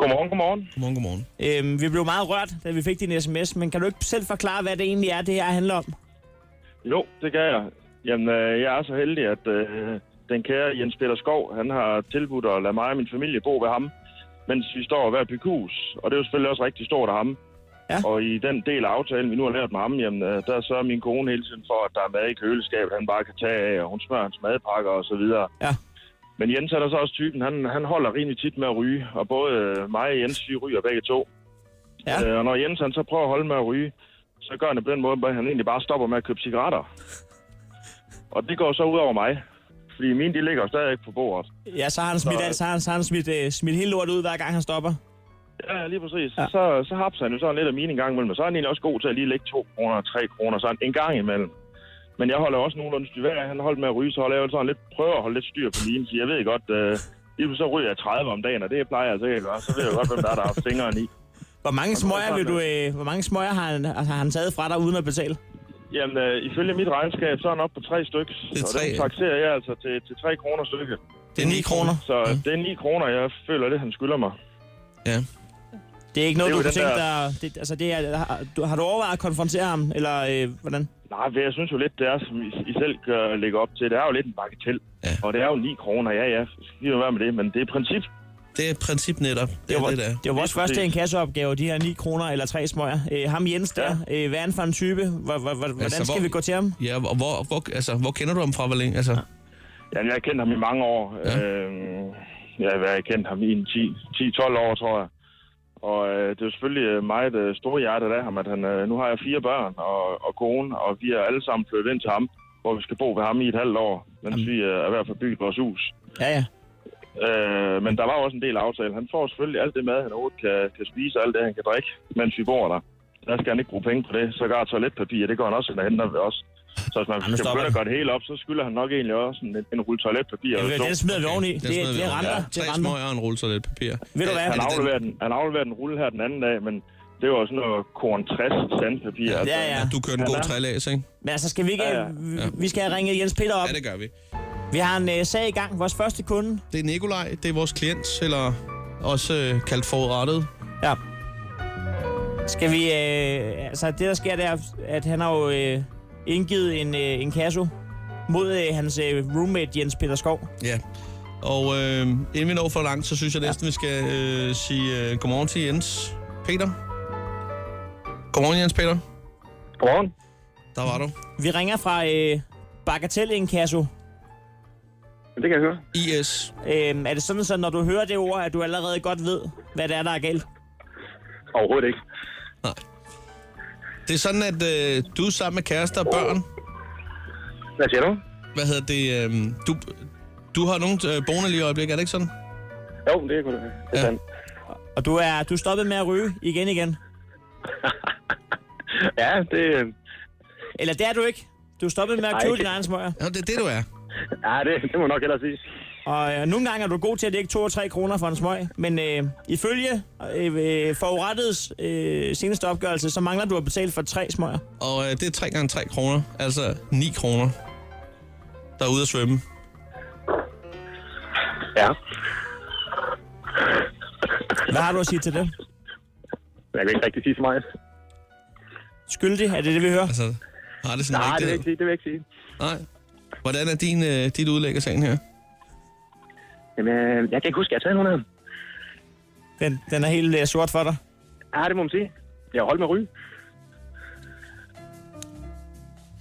S10: Godmorgen, godmorgen.
S2: Godmorgen, godmorgen.
S4: Øhm, vi blev meget rørt, da vi fik din sms, men kan du ikke selv forklare, hvad det egentlig er, det her handler om?
S10: Jo, det kan jeg. Jamen, øh, jeg er så heldig, at øh, den kære Jens Peter Skov, han har tilbudt at lade mig og min familie bo ved ham, mens vi står hver byghus. Og det er jo selvfølgelig også rigtig stort af ham.
S4: Ja.
S10: Og i den del af aftalen, vi nu har lært med ham, jamen, øh, der sørger min kone hele tiden for, at der er mad i køleskabet, han bare kan tage af, og hun smører hans madpakker og så videre.
S4: Ja.
S10: Men Jens er der så også typen, han, han holder rimelig tit med at ryge, og både øh, mig og Jens, vi ryger begge to.
S4: Ja.
S10: Øh, og når Jens han så prøver at holde med at ryge, så gør han det på den måde, at han egentlig bare stopper med at købe cigaretter. Og det går så ud over mig, fordi mine de ligger stadig på bordet.
S4: Ja, så har han smidt,
S10: Så-
S4: alt, så har han, så har han smidt, øh, smidt hele lortet ud, hver gang han stopper.
S10: Ja, lige præcis.
S4: Ja.
S10: Ja. Så, så hapser han jo sådan lidt af mine en gang imellem, men så er han egentlig også god til at lige lægge 2 kroner og 3 kroner sådan en gang imellem. Men jeg holder også nogenlunde styr. Hver gang han holdt med at ryge, så holder jeg jo sådan lidt, prøver at holde lidt styr på mine, så jeg ved godt, øh, lige pludselig så ryger jeg 30 om dagen, og det plejer jeg altså ikke at gøre. Så ved jeg jo godt, hvem der er, der har haft fingeren i.
S4: Hvor mange
S10: Jamen,
S4: smøger, vil
S10: sådan
S4: du,
S10: er
S4: øh, hvor mange smøger har, han, altså, har han taget fra dig uden at betale?
S10: Jamen, øh, ifølge mit regnskab, så er han oppe på tre stykker.
S2: Det er
S10: Og
S2: tre.
S10: den takserer jeg altså til, til 3 kroner stykket.
S2: Det er 9 kroner. Mm.
S10: Så øh, det er 9 kroner, jeg føler det, han skylder mig.
S2: Ja.
S4: Det er ikke noget,
S10: Det er
S4: du
S10: jo
S4: kunne
S10: den
S4: tænke dig... Det, altså, det er, har, du, har du overvejet at konfrontere ham, eller øh, hvordan?
S10: Nej, for jeg synes jo lidt, det er, som I, I selv gør, lægger op til. Det er jo lidt en bagatell.
S2: Ja.
S10: Ja. Og det er jo 9 kroner, ja, ja. Skal jo være med det, men det er princip.
S2: Det er et princip netop. Det er
S4: var,
S2: det, der.
S4: det var vores
S10: Lige
S4: første
S10: præcis.
S4: inkassoopgave, de her 9 kroner eller 3 smøger. Øh, ham Jens der, øh, hvad er han for en type? Hvor, hvor, hvor, hvordan
S2: Altså,
S4: skal
S2: hvor-
S4: vi gå til ham?
S2: Ja, og hvor, hvor, altså, hvor kender du ham fra, hvor længe? Altså,
S10: Jamen, jeg har kendt ham i mange år.
S2: Ja.
S10: Ja. Øhm, jeg har været kendt ham i en 10 10-12 år, tror jeg. Og øh, det er jo selvfølgelig øh, meget øh, store hjertet af ham, at han, øh, nu har jeg fire børn og, og kone, og vi er alle sammen flyttet ind til ham, hvor vi skal bo ved ham i et halvt år, mens vi øh, er ved at få bygget vores hus.
S4: Ja, ja.
S10: Øh, men der var også en del aftale. Han får selvfølgelig alt det mad, han overhovedet kan, kan spise, og alt det, han kan drikke, mens vi bor der. Der skal han ikke bruge penge på det. Så gør toiletpapir, det går han også ind og henter ved os. Så hvis man
S4: nu
S10: skal
S4: stopper
S10: begynde
S4: det.
S10: at gøre det hele op, så skylder han nok egentlig også en, en rulle toiletpapir.
S4: Ja,
S10: eller to.
S4: den smider vi oveni. Det,
S2: den smider vi
S4: det, er
S2: oveni.
S4: renter.
S2: Ja,
S4: det er
S2: Tre
S4: renter.
S2: smøger og en rulle toiletpapir.
S4: Ved du hvad?
S2: Er
S10: Han
S2: det den?
S10: afleverer, den, han afleverer den rulle her den anden dag, men det var sådan noget korn 60 sandpapir. altså.
S4: Ja, ja.
S2: Du kører en
S10: Ja,
S2: god
S10: da.
S2: trælæs, ikke?
S4: Men altså, skal vi ikke...
S10: Ja, ja.
S4: Vi, vi skal have ringet Jens Peter op.
S2: Ja, det gør vi.
S4: Vi har en øh, sag i gang. Vores første kunde.
S2: Det er Nikolaj, det er vores klient, eller også øh, kaldt forrettet.
S4: Ja. Skal vi... Øh, altså, det der sker, det er, at han har jo øh, indgivet en, øh, en kasso mod øh, hans øh, roommate Jens Peter Skov.
S2: Ja. Og øh, inden vi når for langt, så synes jeg næsten, vi skal øh, sige øh, godmorgen til Jens Peter. Godmorgen, Jens Peter.
S10: Godmorgen.
S2: Der var du.
S4: Vi ringer fra øh, Bagatell Inkasso.
S10: Det kan jeg høre.
S2: IS.
S4: Øhm, er det sådan, så når du hører det ord, at du allerede godt ved, hvad det er, der er galt?
S10: Overhovedet ikke.
S2: Det er sådan, at øh, du er sammen med kærester og børn.
S10: Hvad siger du?
S2: Hvad hedder det? Øh, du, du har nogen øh, boende lige i øjeblikket, er det ikke sådan?
S10: Jo, det er godt. Det er
S2: Ja.
S10: sandt.
S4: Og du er, du er stoppet med at ryge igen igen.
S10: Ja, det, øh,
S4: Eller det er du ikke. Du er stoppet med at
S10: Ej.
S4: købe din egen smøger.
S2: Ja, det er det, du er.
S10: ja, det, det må nok hellere sige.
S4: Og øh, nogle gange er du god til at lægge 2 og 3 kroner for en smøg. Men øh, ifølge øh, øh, forurettets øh, seneste opgørelse, så mangler du at betale for tre smøger.
S2: Og øh, det er 3 gange 3 kroner, altså 9 kroner, der er ude at svømme.
S10: Ja,
S4: Hvad har du at sige til det?
S10: jeg kan ikke rigtig sige så meget.
S4: Skyldig, er det det, vi hører?
S2: Altså, har det sådan
S10: Nej, det vil jeg
S2: rigtigt?
S10: ikke sige. Det vil jeg ikke sige.
S2: Nej. Hvordan er din, øh, dit udlæg af sagen her?
S10: Jamen, øh, jeg kan ikke huske, at jeg har taget nogen af dem.
S4: Den, den er helt øh, sort for dig.
S10: Ja, det må man sige. Jeg har holdt med ryge.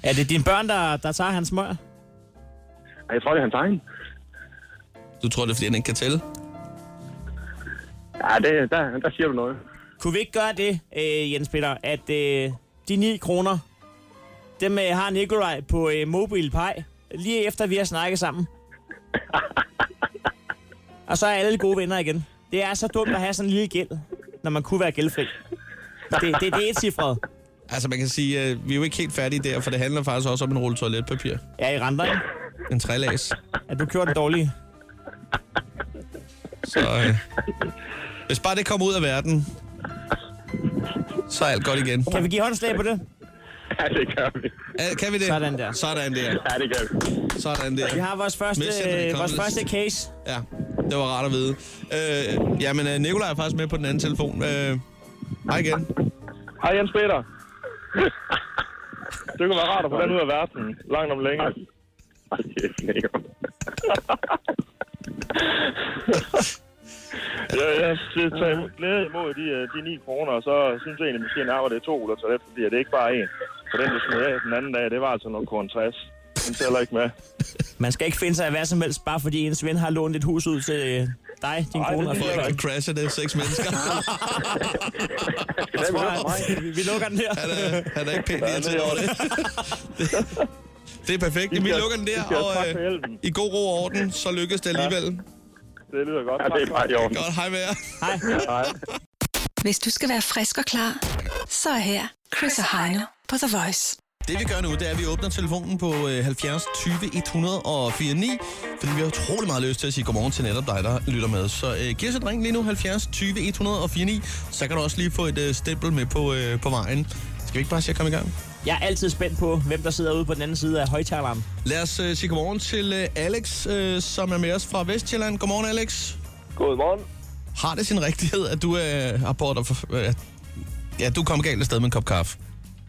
S4: Er det dine børn, der, der tager hans smøger?
S10: Og jeg tror, det er hans egen.
S2: Du tror, det er, fordi han ikke kan tælle?
S10: Ja, det, der, der siger du noget.
S4: Kunne vi ikke gøre det, øh, Jens Peter, at øh, de 9 kroner, dem øh, har Nikolaj på øh, Mobile Pie, lige efter vi har snakket sammen. Og så er alle gode venner igen. Det er så dumt at have sådan en lille gæld, når man kunne være gældfri. Det, det, det er et cifret.
S2: Altså, man kan sige, øh, vi er jo ikke helt færdige der, for det handler faktisk også om en rulle toiletpapir.
S4: Ja, i renter, ikke?
S2: En trælags.
S4: At du kører den dårlige.
S2: Så øh, hvis bare det kommer ud af verden, så er alt godt igen.
S4: Kan vi give håndslag på det?
S10: Ja, det gør vi.
S2: Øh, Kan vi det?
S4: Sådan der.
S2: Sådan der.
S10: Ja, det gør vi.
S2: Sådan
S4: Vi
S2: der.
S4: har vores første,
S2: Mens Henrik
S4: øh, vores
S2: Kongles.
S4: første case.
S2: Ja, det var rart at vide. Øh, jamen, øh, Nikolaj er faktisk med på den anden telefon. Øh, hej igen.
S10: Hej Jens Peter. det kunne være rart at få den ud af verden. Langt om længe. Ej, kæft, Nico.
S13: Ja, jeg synes, tager imod- glæde imod de, øh, de 9 kroner, og så synes jeg egentlig måske nærmere, det er to ruller toilet, fordi det er ikke bare en. For den, du smed af den anden dag, det var altså noget korn 60. Den tæller ikke med.
S4: Man skal ikke finde sig af hvad som helst, bare fordi ens ven har lånt et hus ud til øh, dig, din
S13: Ej,
S4: kone og
S13: det
S2: For
S4: Frederik.
S2: at kan crashe det seks mennesker.
S10: Skal vi høre fra mig?
S4: Vi, vi lukker den her.
S2: Han er, han er ikke pænt irriteret over det. Det er perfekt. Jamen, Vi lukker den der,
S13: skal-
S2: og
S13: tak for
S2: øh,
S13: hjælpen.
S2: i god ro og orden, så lykkes det alligevel.
S13: Det lyder godt.
S10: Ja, det er bare i orden.
S2: Godt, hej med jer.
S4: Hej.
S6: Hvis du skal være frisk og klar, så er her Chris og Heino på The Voice.
S2: Det vi gør nu, det er, at vi åbner telefonen på øh, 70 20 104 9, fordi vi har utrolig meget lyst til at sige godmorgen til netop dig, der lytter med. Så øh, giv os et ring lige nu, 70 20 104 9, så kan du også lige få et øh, stempel med på, øh, på vejen. Skal vi ikke bare se at komme i gang?
S4: Jeg er altid spændt på, hvem der sidder ude på den anden side af højtaleren.
S2: Lad os øh, sige godmorgen til øh, Alex, øh, som er med os fra Vestjylland. Godmorgen, Alex.
S13: Godmorgen.
S2: Har det sin rigtighed, at du øh, har bordet for... Øh, ja, du kom galt afsted med en kop kaffe.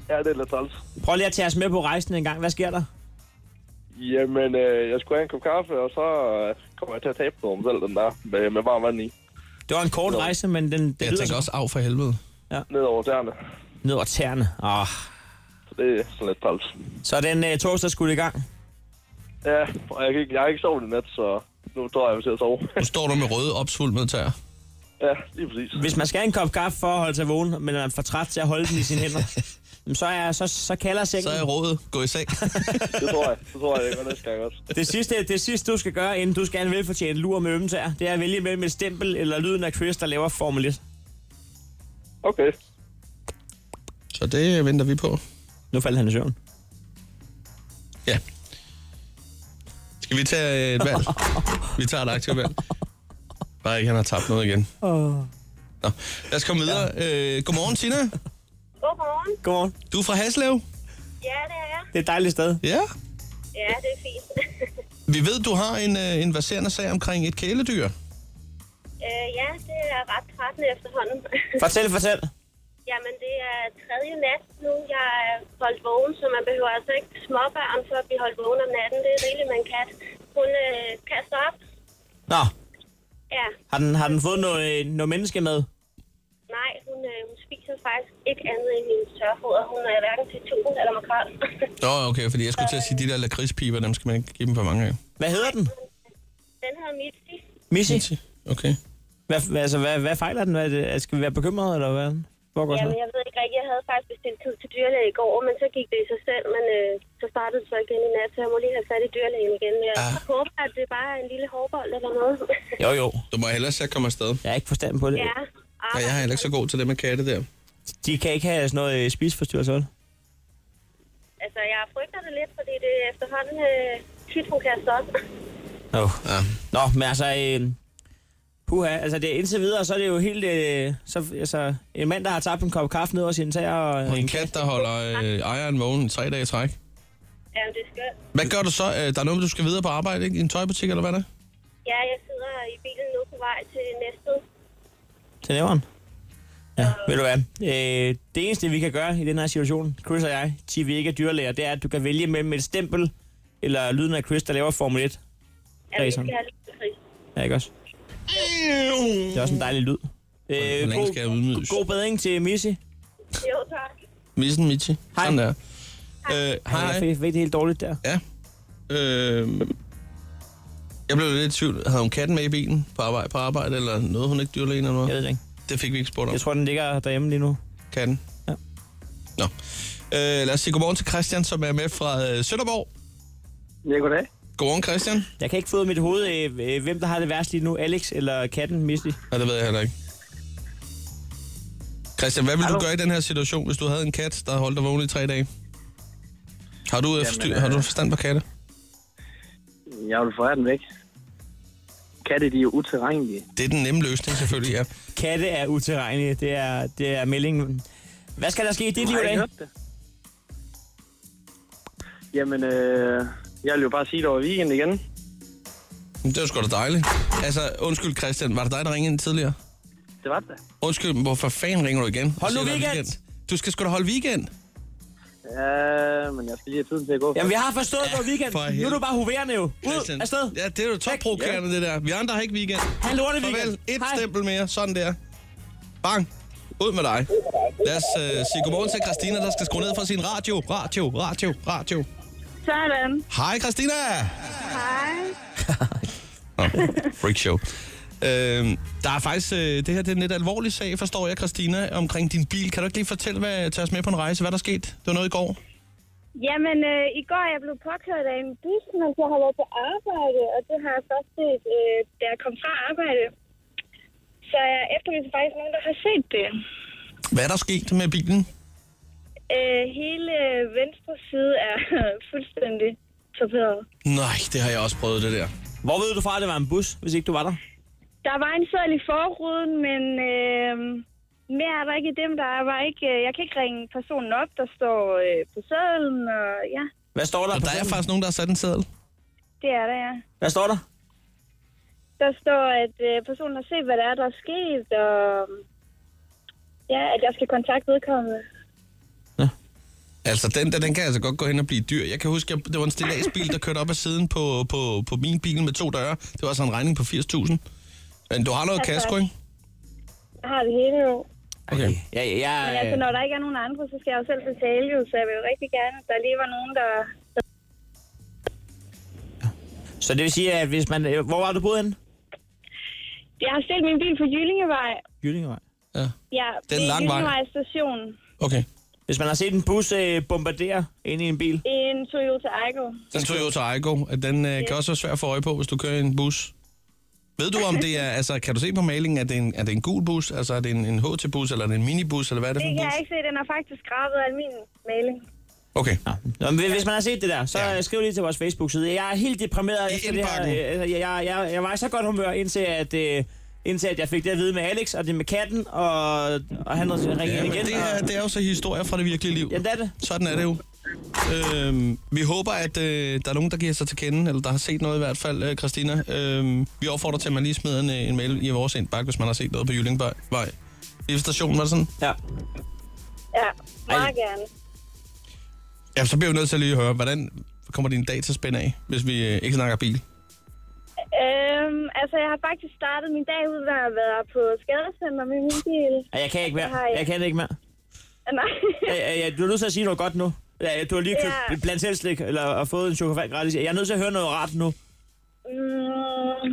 S13: Ja, det er lidt træls.
S4: Prøv lige at tage os med på rejsen en gang. Hvad sker der?
S13: Jamen, øh, jeg skulle have en kop kaffe, og så øh, kommer jeg til at tabe noget om selv, den der, med, med varm vand i.
S4: Det var en kort rejse, men den, det
S2: Jeg
S4: lyder
S2: tænker
S4: som-
S2: også af for helvede.
S13: Ned over tæerne.
S4: ned over tæerne. Oh.
S13: Så det er sådan lidt træls.
S4: Så den øh, torsdag skulle i gang.
S13: Ja, og jeg, kan ikke- jeg har ikke sovet i nat, så nu tror jeg, jeg vil til at sove.
S2: Nu står du med røde opsvulmede tæer.
S13: ja, lige præcis.
S4: Hvis man skal have en kop kaffe for at holde sig vågen, men er for træt til at holde den i sine hænder, jamen, så, er, så, så kalder
S2: Så
S4: sengen.
S2: er jeg rådet. Gå i seng.
S13: Det tror jeg. Det tror jeg, jeg gør næste gang også.
S4: Det sidste, det sidste, du skal gøre, inden du skal have en velfortjent lur med ømtager, det er at vælge mellem et stempel eller lyden af Chris, der laver Formel 1.
S13: Okay.
S2: Så det venter vi på.
S4: Nu faldt han i søvn.
S2: Ja. Skal vi tage øh, et valg? Vi tager et aktivt valg. Bare ikke, han har tabt noget igen. Nå, lad os komme videre. Øh, godmorgen, Tina.
S11: Godmorgen.
S4: Godmorgen.
S2: Du er fra Haslev?
S11: Ja, det er jeg.
S4: Det er et dejligt sted.
S2: Ja.
S11: Ja, det er fint.
S2: Vi ved, du har en, øh, en verserende sag omkring et kæledyr.
S11: øh, ja, det er ret trættende efterhånden.
S4: Fortæl, fortæl.
S11: Jamen, det er tredje nat nu. Jeg er holdt vågen, så man behøver altså ikke småbørn for at blive holdt vågen om natten. Det er rigeligt med en kat. Hun øh, kaster op,
S4: Nå,
S14: Ja,
S4: har den, har den fået noget, øh, noget menneske med?
S14: nej, hun, øh, hun spiser faktisk ikke andet end hendes tørfoder. Hun er hverken til tun eller makrel.
S2: Nå, okay, fordi jeg skulle til at sige, de der lakridspiber, dem skal man ikke give dem for mange af.
S4: Hvad hedder den?
S14: den hedder Mitzi.
S4: Missy?
S2: Okay.
S4: Hvad, hvad, altså, hvad, hvad fejler den? Hvad, er det? skal vi være bekymrede, eller hvad? Hvor går sådan
S14: Jamen,
S4: noget?
S14: jeg ved ikke rigtigt. Jeg havde faktisk bestilt tid til dyrlæge i går, men så gik det i sig selv. Men øh, så startede det så igen i nat, så jeg må lige have fat i dyrlægen igen. Men jeg håber, at det bare er en lille hårbold eller noget.
S4: Jo, jo.
S2: Du må hellere se at komme afsted.
S4: Jeg har ikke forstand på det.
S14: ja.
S2: Nej, jeg er heller ikke så god til det med katte der.
S4: De kan ikke have sådan noget øh, spiseforstyrrelse, vel?
S14: Altså, jeg frygter det lidt, fordi det er efterhånden øh, tit, hun kaster op.
S4: Oh. Ja. Nå, men altså... Øh, puha, altså det, indtil videre, så er det jo helt... Øh, så, altså, en mand, der har tabt en kop kaffe ned over sin tær, og
S2: Og en kat, der holder øh, ejeren vågen i tre dage i træk.
S14: Jamen, det er skønt.
S2: Hvad gør du så? Øh, Der er noget, du skal videre på arbejde, ikke? I en tøjbutik, eller hvad det er?
S14: Ja, jeg sidder i bilen nu på vej til næste.
S4: til næveren. Ja, ved du hvad? Øh, det eneste, vi kan gøre i den her situation, Chris og jeg, til vi ikke er dyrlæger, det er, at du kan vælge mellem et stempel, eller lyden af Chris, der laver Formel 1.
S14: Ja, vi
S4: Raceren.
S14: skal have lidt fri.
S4: Ja, ikke også? Det er også en dejlig lyd. Øh,
S2: længe
S4: god,
S2: skal jeg ydmyges?
S4: god bedring til Missy.
S14: Jo, tak.
S2: Missen Michi. Hej. Sådan der. Øh,
S4: Jeg
S2: hej.
S4: fik, fik det helt dårligt der.
S2: Ja. Øh, jeg blev lidt i tvivl. Havde hun katten med i bilen på arbejde, på arbejde eller noget, hun ikke dyrlægen eller noget? Jeg
S4: ved det ikke.
S2: Det fik vi ikke spurgt om.
S4: Jeg tror, den ligger derhjemme lige nu.
S2: Katten?
S4: Ja.
S2: Nå. Øh, lad os sige godmorgen til Christian, som er med fra øh, Sønderborg.
S8: Ja, goddag.
S2: Godmorgen, Christian.
S4: Jeg kan ikke få ud af mit hoved, øh, øh, hvem der har det værst lige nu, Alex eller katten Missy.
S2: Ja, det ved jeg heller ikke. Christian, hvad ville du
S4: Hallo?
S2: gøre i den her situation, hvis du havde en kat, der holdt dig vågen i tre dage? Har du, Jamen,
S8: Jamen,
S2: forstyr,
S8: øh,
S2: har du forstand på katte?
S8: Jeg vil forære den væk. Katte, de er jo uterrenlige.
S2: Det er den nemme løsning, selvfølgelig, ja.
S4: Katte er uterrenlige, det er, det er meldingen. Hvad skal der ske i dit
S8: Du
S4: liv
S8: har ikke
S4: i dag?
S8: hørt det. Jamen, øh, jeg vil jo bare sige, at det var weekend igen.
S2: Men Det var sgu da dejligt. Altså, undskyld Christian, var det dig, der ringede ind tidligere?
S8: Det var det.
S2: Undskyld, men hvorfor fanden ringer du igen?
S8: Hold nu
S2: Jeg siger, der er
S8: weekend!
S2: Du skal sgu da holde weekend.
S8: Ja, men jeg skal lige have tiden til at gå.
S4: Jamen, vi har forstået, ja, hvor weekend.
S2: for
S4: Nu er du
S2: helvede.
S4: bare hoverende jo. Ud,
S2: Christian.
S4: afsted.
S2: Ja, det er jo topprovokerende, det der. Vi andre har ikke weekend.
S4: Ha' en lorte weekend.
S2: Farvel. Et stempel mere. Sådan der. Bang. Ud med dig. Lad os øh, sige godmorgen til Christina, der skal skrue ned fra sin radio. Radio, radio, radio.
S11: Sådan.
S2: Hej, Christina!
S11: Hej.
S2: Freak show. Øhm, der er faktisk, øh, det her det er en lidt alvorlig sag, forstår jeg, Christina, omkring din bil. Kan du ikke lige fortælle, hvad, tage os med på en rejse, hvad der skete? Det var noget i går.
S14: Jamen, øh, i går er jeg blev påkørt af en bus, mens jeg har været på arbejde, og det har jeg først set, øh, da jeg kom fra arbejde. Så jeg efterlyser faktisk nogen, der har set det.
S2: Hvad er der sket med bilen?
S14: Øh, hele øh, venstre side er fuldstændig torpederet.
S2: Nej, det har jeg også prøvet, det der.
S4: Hvor ved du fra, at det var en bus, hvis ikke du var der?
S14: Der var en seddel i forruden, men øh, mere er der ikke i dem. Der var ikke, øh, jeg kan ikke ringe personen op, der står øh, på sædlen, og ja,
S4: Hvad står der?
S2: Og der er faktisk nogen, der har sat en seddel.
S14: det er der, ja.
S4: Hvad står der?
S14: Der står, at øh, personen har set, hvad der er, der er sket, og ja, at jeg skal kontakte vedkommende.
S2: Altså, den der, den kan altså godt gå hen og blive dyr. Jeg kan huske, jeg, det var en stillagsbil, der kørte op ad siden på, på, på min bil med to døre. Det var altså en regning på 80.000. Men du har noget
S14: Altså,
S2: kasko, ikke?
S14: Jeg har det hele jo.
S2: Okay.
S4: Ja, ja, ja.
S14: Men altså, når der ikke er nogen andre, så skal jeg jo selv betale jo, så jeg vil jo rigtig gerne, at der lige var nogen, der...
S4: Så det vil sige, at hvis man... øh, Hvor var du boet henne?
S14: Jeg har stillet min bil på Jyllingevej.
S4: Jyllingevej. Ja.
S14: Ja,
S4: Det er en
S14: ved
S4: lang vej.
S14: Jyllingevej station.
S2: Okay.
S4: Hvis man har set en bus øh, bombardere ind i en bil.
S14: En Toyota Aygo.
S2: Den Toyota Aygo, at den øh, kan også være svær at få øje på, hvis du kører i en bus. Ved du, om det er, altså, kan du se på malingen, at det er en, er det en gul bus? Altså, er det en, en HT-bus, eller er det en minibus, eller hvad er det
S14: Det
S2: for en
S14: kan
S2: bus?
S14: jeg ikke se. Den er faktisk skrabet af min maling.
S2: Okay.
S4: Nå, men hvis man har set det der, så ja. skriv lige til vores Facebook-side. Jeg er helt deprimeret I efter det her. Øh, altså, Jeg, jeg, jeg, jeg var i så godt humør, indtil at, øh, indtil at jeg fik det at vide med Alex, og det med katten, og, og han ringede
S2: Ja, men
S4: igen.
S2: det, er, det er jo så historier fra det virkelige liv. Ja,
S4: det er det.
S2: Sådan er det jo. Øhm, vi håber, at øh, der er nogen, der giver sig til kende, eller der har set noget i hvert fald, øh, Christina. Øhm, vi opfordrer til, at man lige smider en, øh, en mail i vores indbakke, hvis man har set noget på Jyllingvej. I stationen, var det sådan?
S4: Ja.
S14: Ja, meget gerne.
S2: Ja, så bliver vi nødt til at lige høre, hvordan kommer din dag til at spænde af, hvis vi øh, ikke snakker bil?
S14: Øhm, altså, jeg har faktisk startet min dag ud med at være på skadescenter med min bil.
S4: Ej, Jeg kan ikke mere.
S14: Det har jeg.
S4: Jeg kan ikke mere.
S14: Ah, Nej.
S4: Ej, ej, ej, Du er nødt til at sige noget godt nu. Ja, Du har lige købt
S14: Ja.
S4: ja. blandt selv slik, eller har fået en chokolade gratis. Jeg er nødt til at høre noget rart nu.
S14: Mm.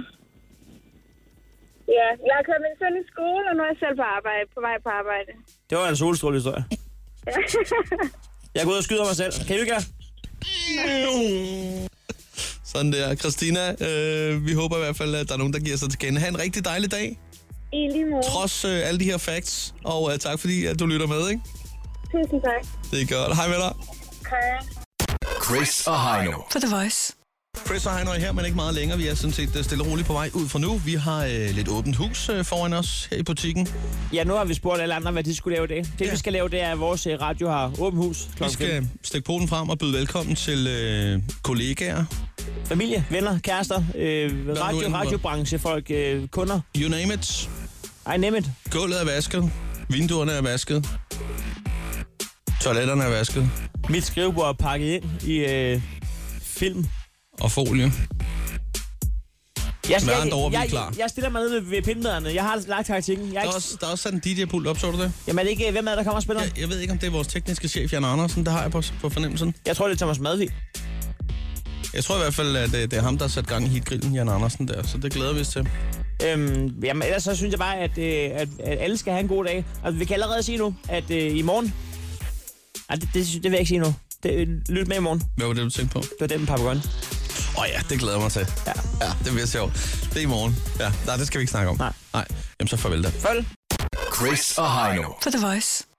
S14: Ja, jeg har kørt min søn i skole, og nu er jeg selv på arbejde, på vej på arbejde.
S4: Det var en solstrålehistorie.
S14: Ja.
S4: Jeg går ud og skyder mig selv. Kan I ikke gøre?
S2: Sådan der. Christina, øh, vi håber i hvert fald, at der er nogen, der giver sig til kende. Ha' en rigtig dejlig dag,
S14: I lige måde.
S2: trods øh, alle de her facts. Og øh, tak fordi, at du lytter med, ikke?
S14: Tusind tak.
S2: Det er godt. Hej med dig.
S14: Hej.
S2: Chris og Heino.
S6: På The Voice.
S2: Chris og Heino er her, men ikke meget længere. Vi er sådan set øh, stille og roligt på vej ud fra nu. Vi har øh, lidt åbent hus øh, foran os her i butikken.
S4: Ja, nu har vi spurgt alle andre, hvad de skulle lave i dag. Det, ja. vi skal lave, det er, at vores øh, radio har åben hus.
S2: Vi
S4: klokken
S2: skal
S4: fem.
S2: stikke polen frem og byde velkommen til øh, kollegaer.
S4: Familie, venner, kærester, øh,
S2: nu
S4: radio,
S2: end var.
S4: radiobranchefolk, øh, kunder.
S2: You name it.
S4: I name it.
S2: Gulvet er vasket. Vinduerne er vasket. Toiletterne er vasket.
S4: Mit skrivebord er pakket ind i øh, film.
S2: Og folie.
S4: Jeg, skal,
S2: Med andre ord, vi er
S4: jeg,
S2: klar.
S4: jeg, jeg stiller mig ned ved, ved pindmaderne. Jeg har lagt taktikken. Jeg er
S2: Der er
S4: ikke,
S2: også, der er også sådan en DJ-pult op, så du det?
S4: Jamen er det ikke, øh, hvem er det, der kommer og spiller?
S2: Jeg, jeg ved ikke, om det er vores tekniske chef, Jan Andersen, det har jeg på, på fornemmelsen.
S4: Jeg tror, det er Thomas Madvig.
S2: Jeg tror i hvert fald, at øh, det, det er ham, der har sat gang i hitgrillen, Jan Andersen der, så det glæder vi os til.
S4: Øhm, jamen, ellers så synes jeg bare, at, øh, at, at alle skal have en god dag. Og vi kan allerede sige nu, at øh, i morgen... Ej, det, det, det vil jeg ikke sige nu. Det, øh, lyt med i morgen.
S2: Hvad var det, du tænkte på? Det
S4: var den med papagøjen.
S2: Åh oh, ja, det glæder jeg mig til.
S4: Ja.
S2: ja, det bliver sjovt. Det er i morgen. Ja, nej, det skal vi ikke snakke om. Nej. Nej, jamen så farvel da.
S4: Farvel.
S2: Chris og Heino.
S6: På The Voice.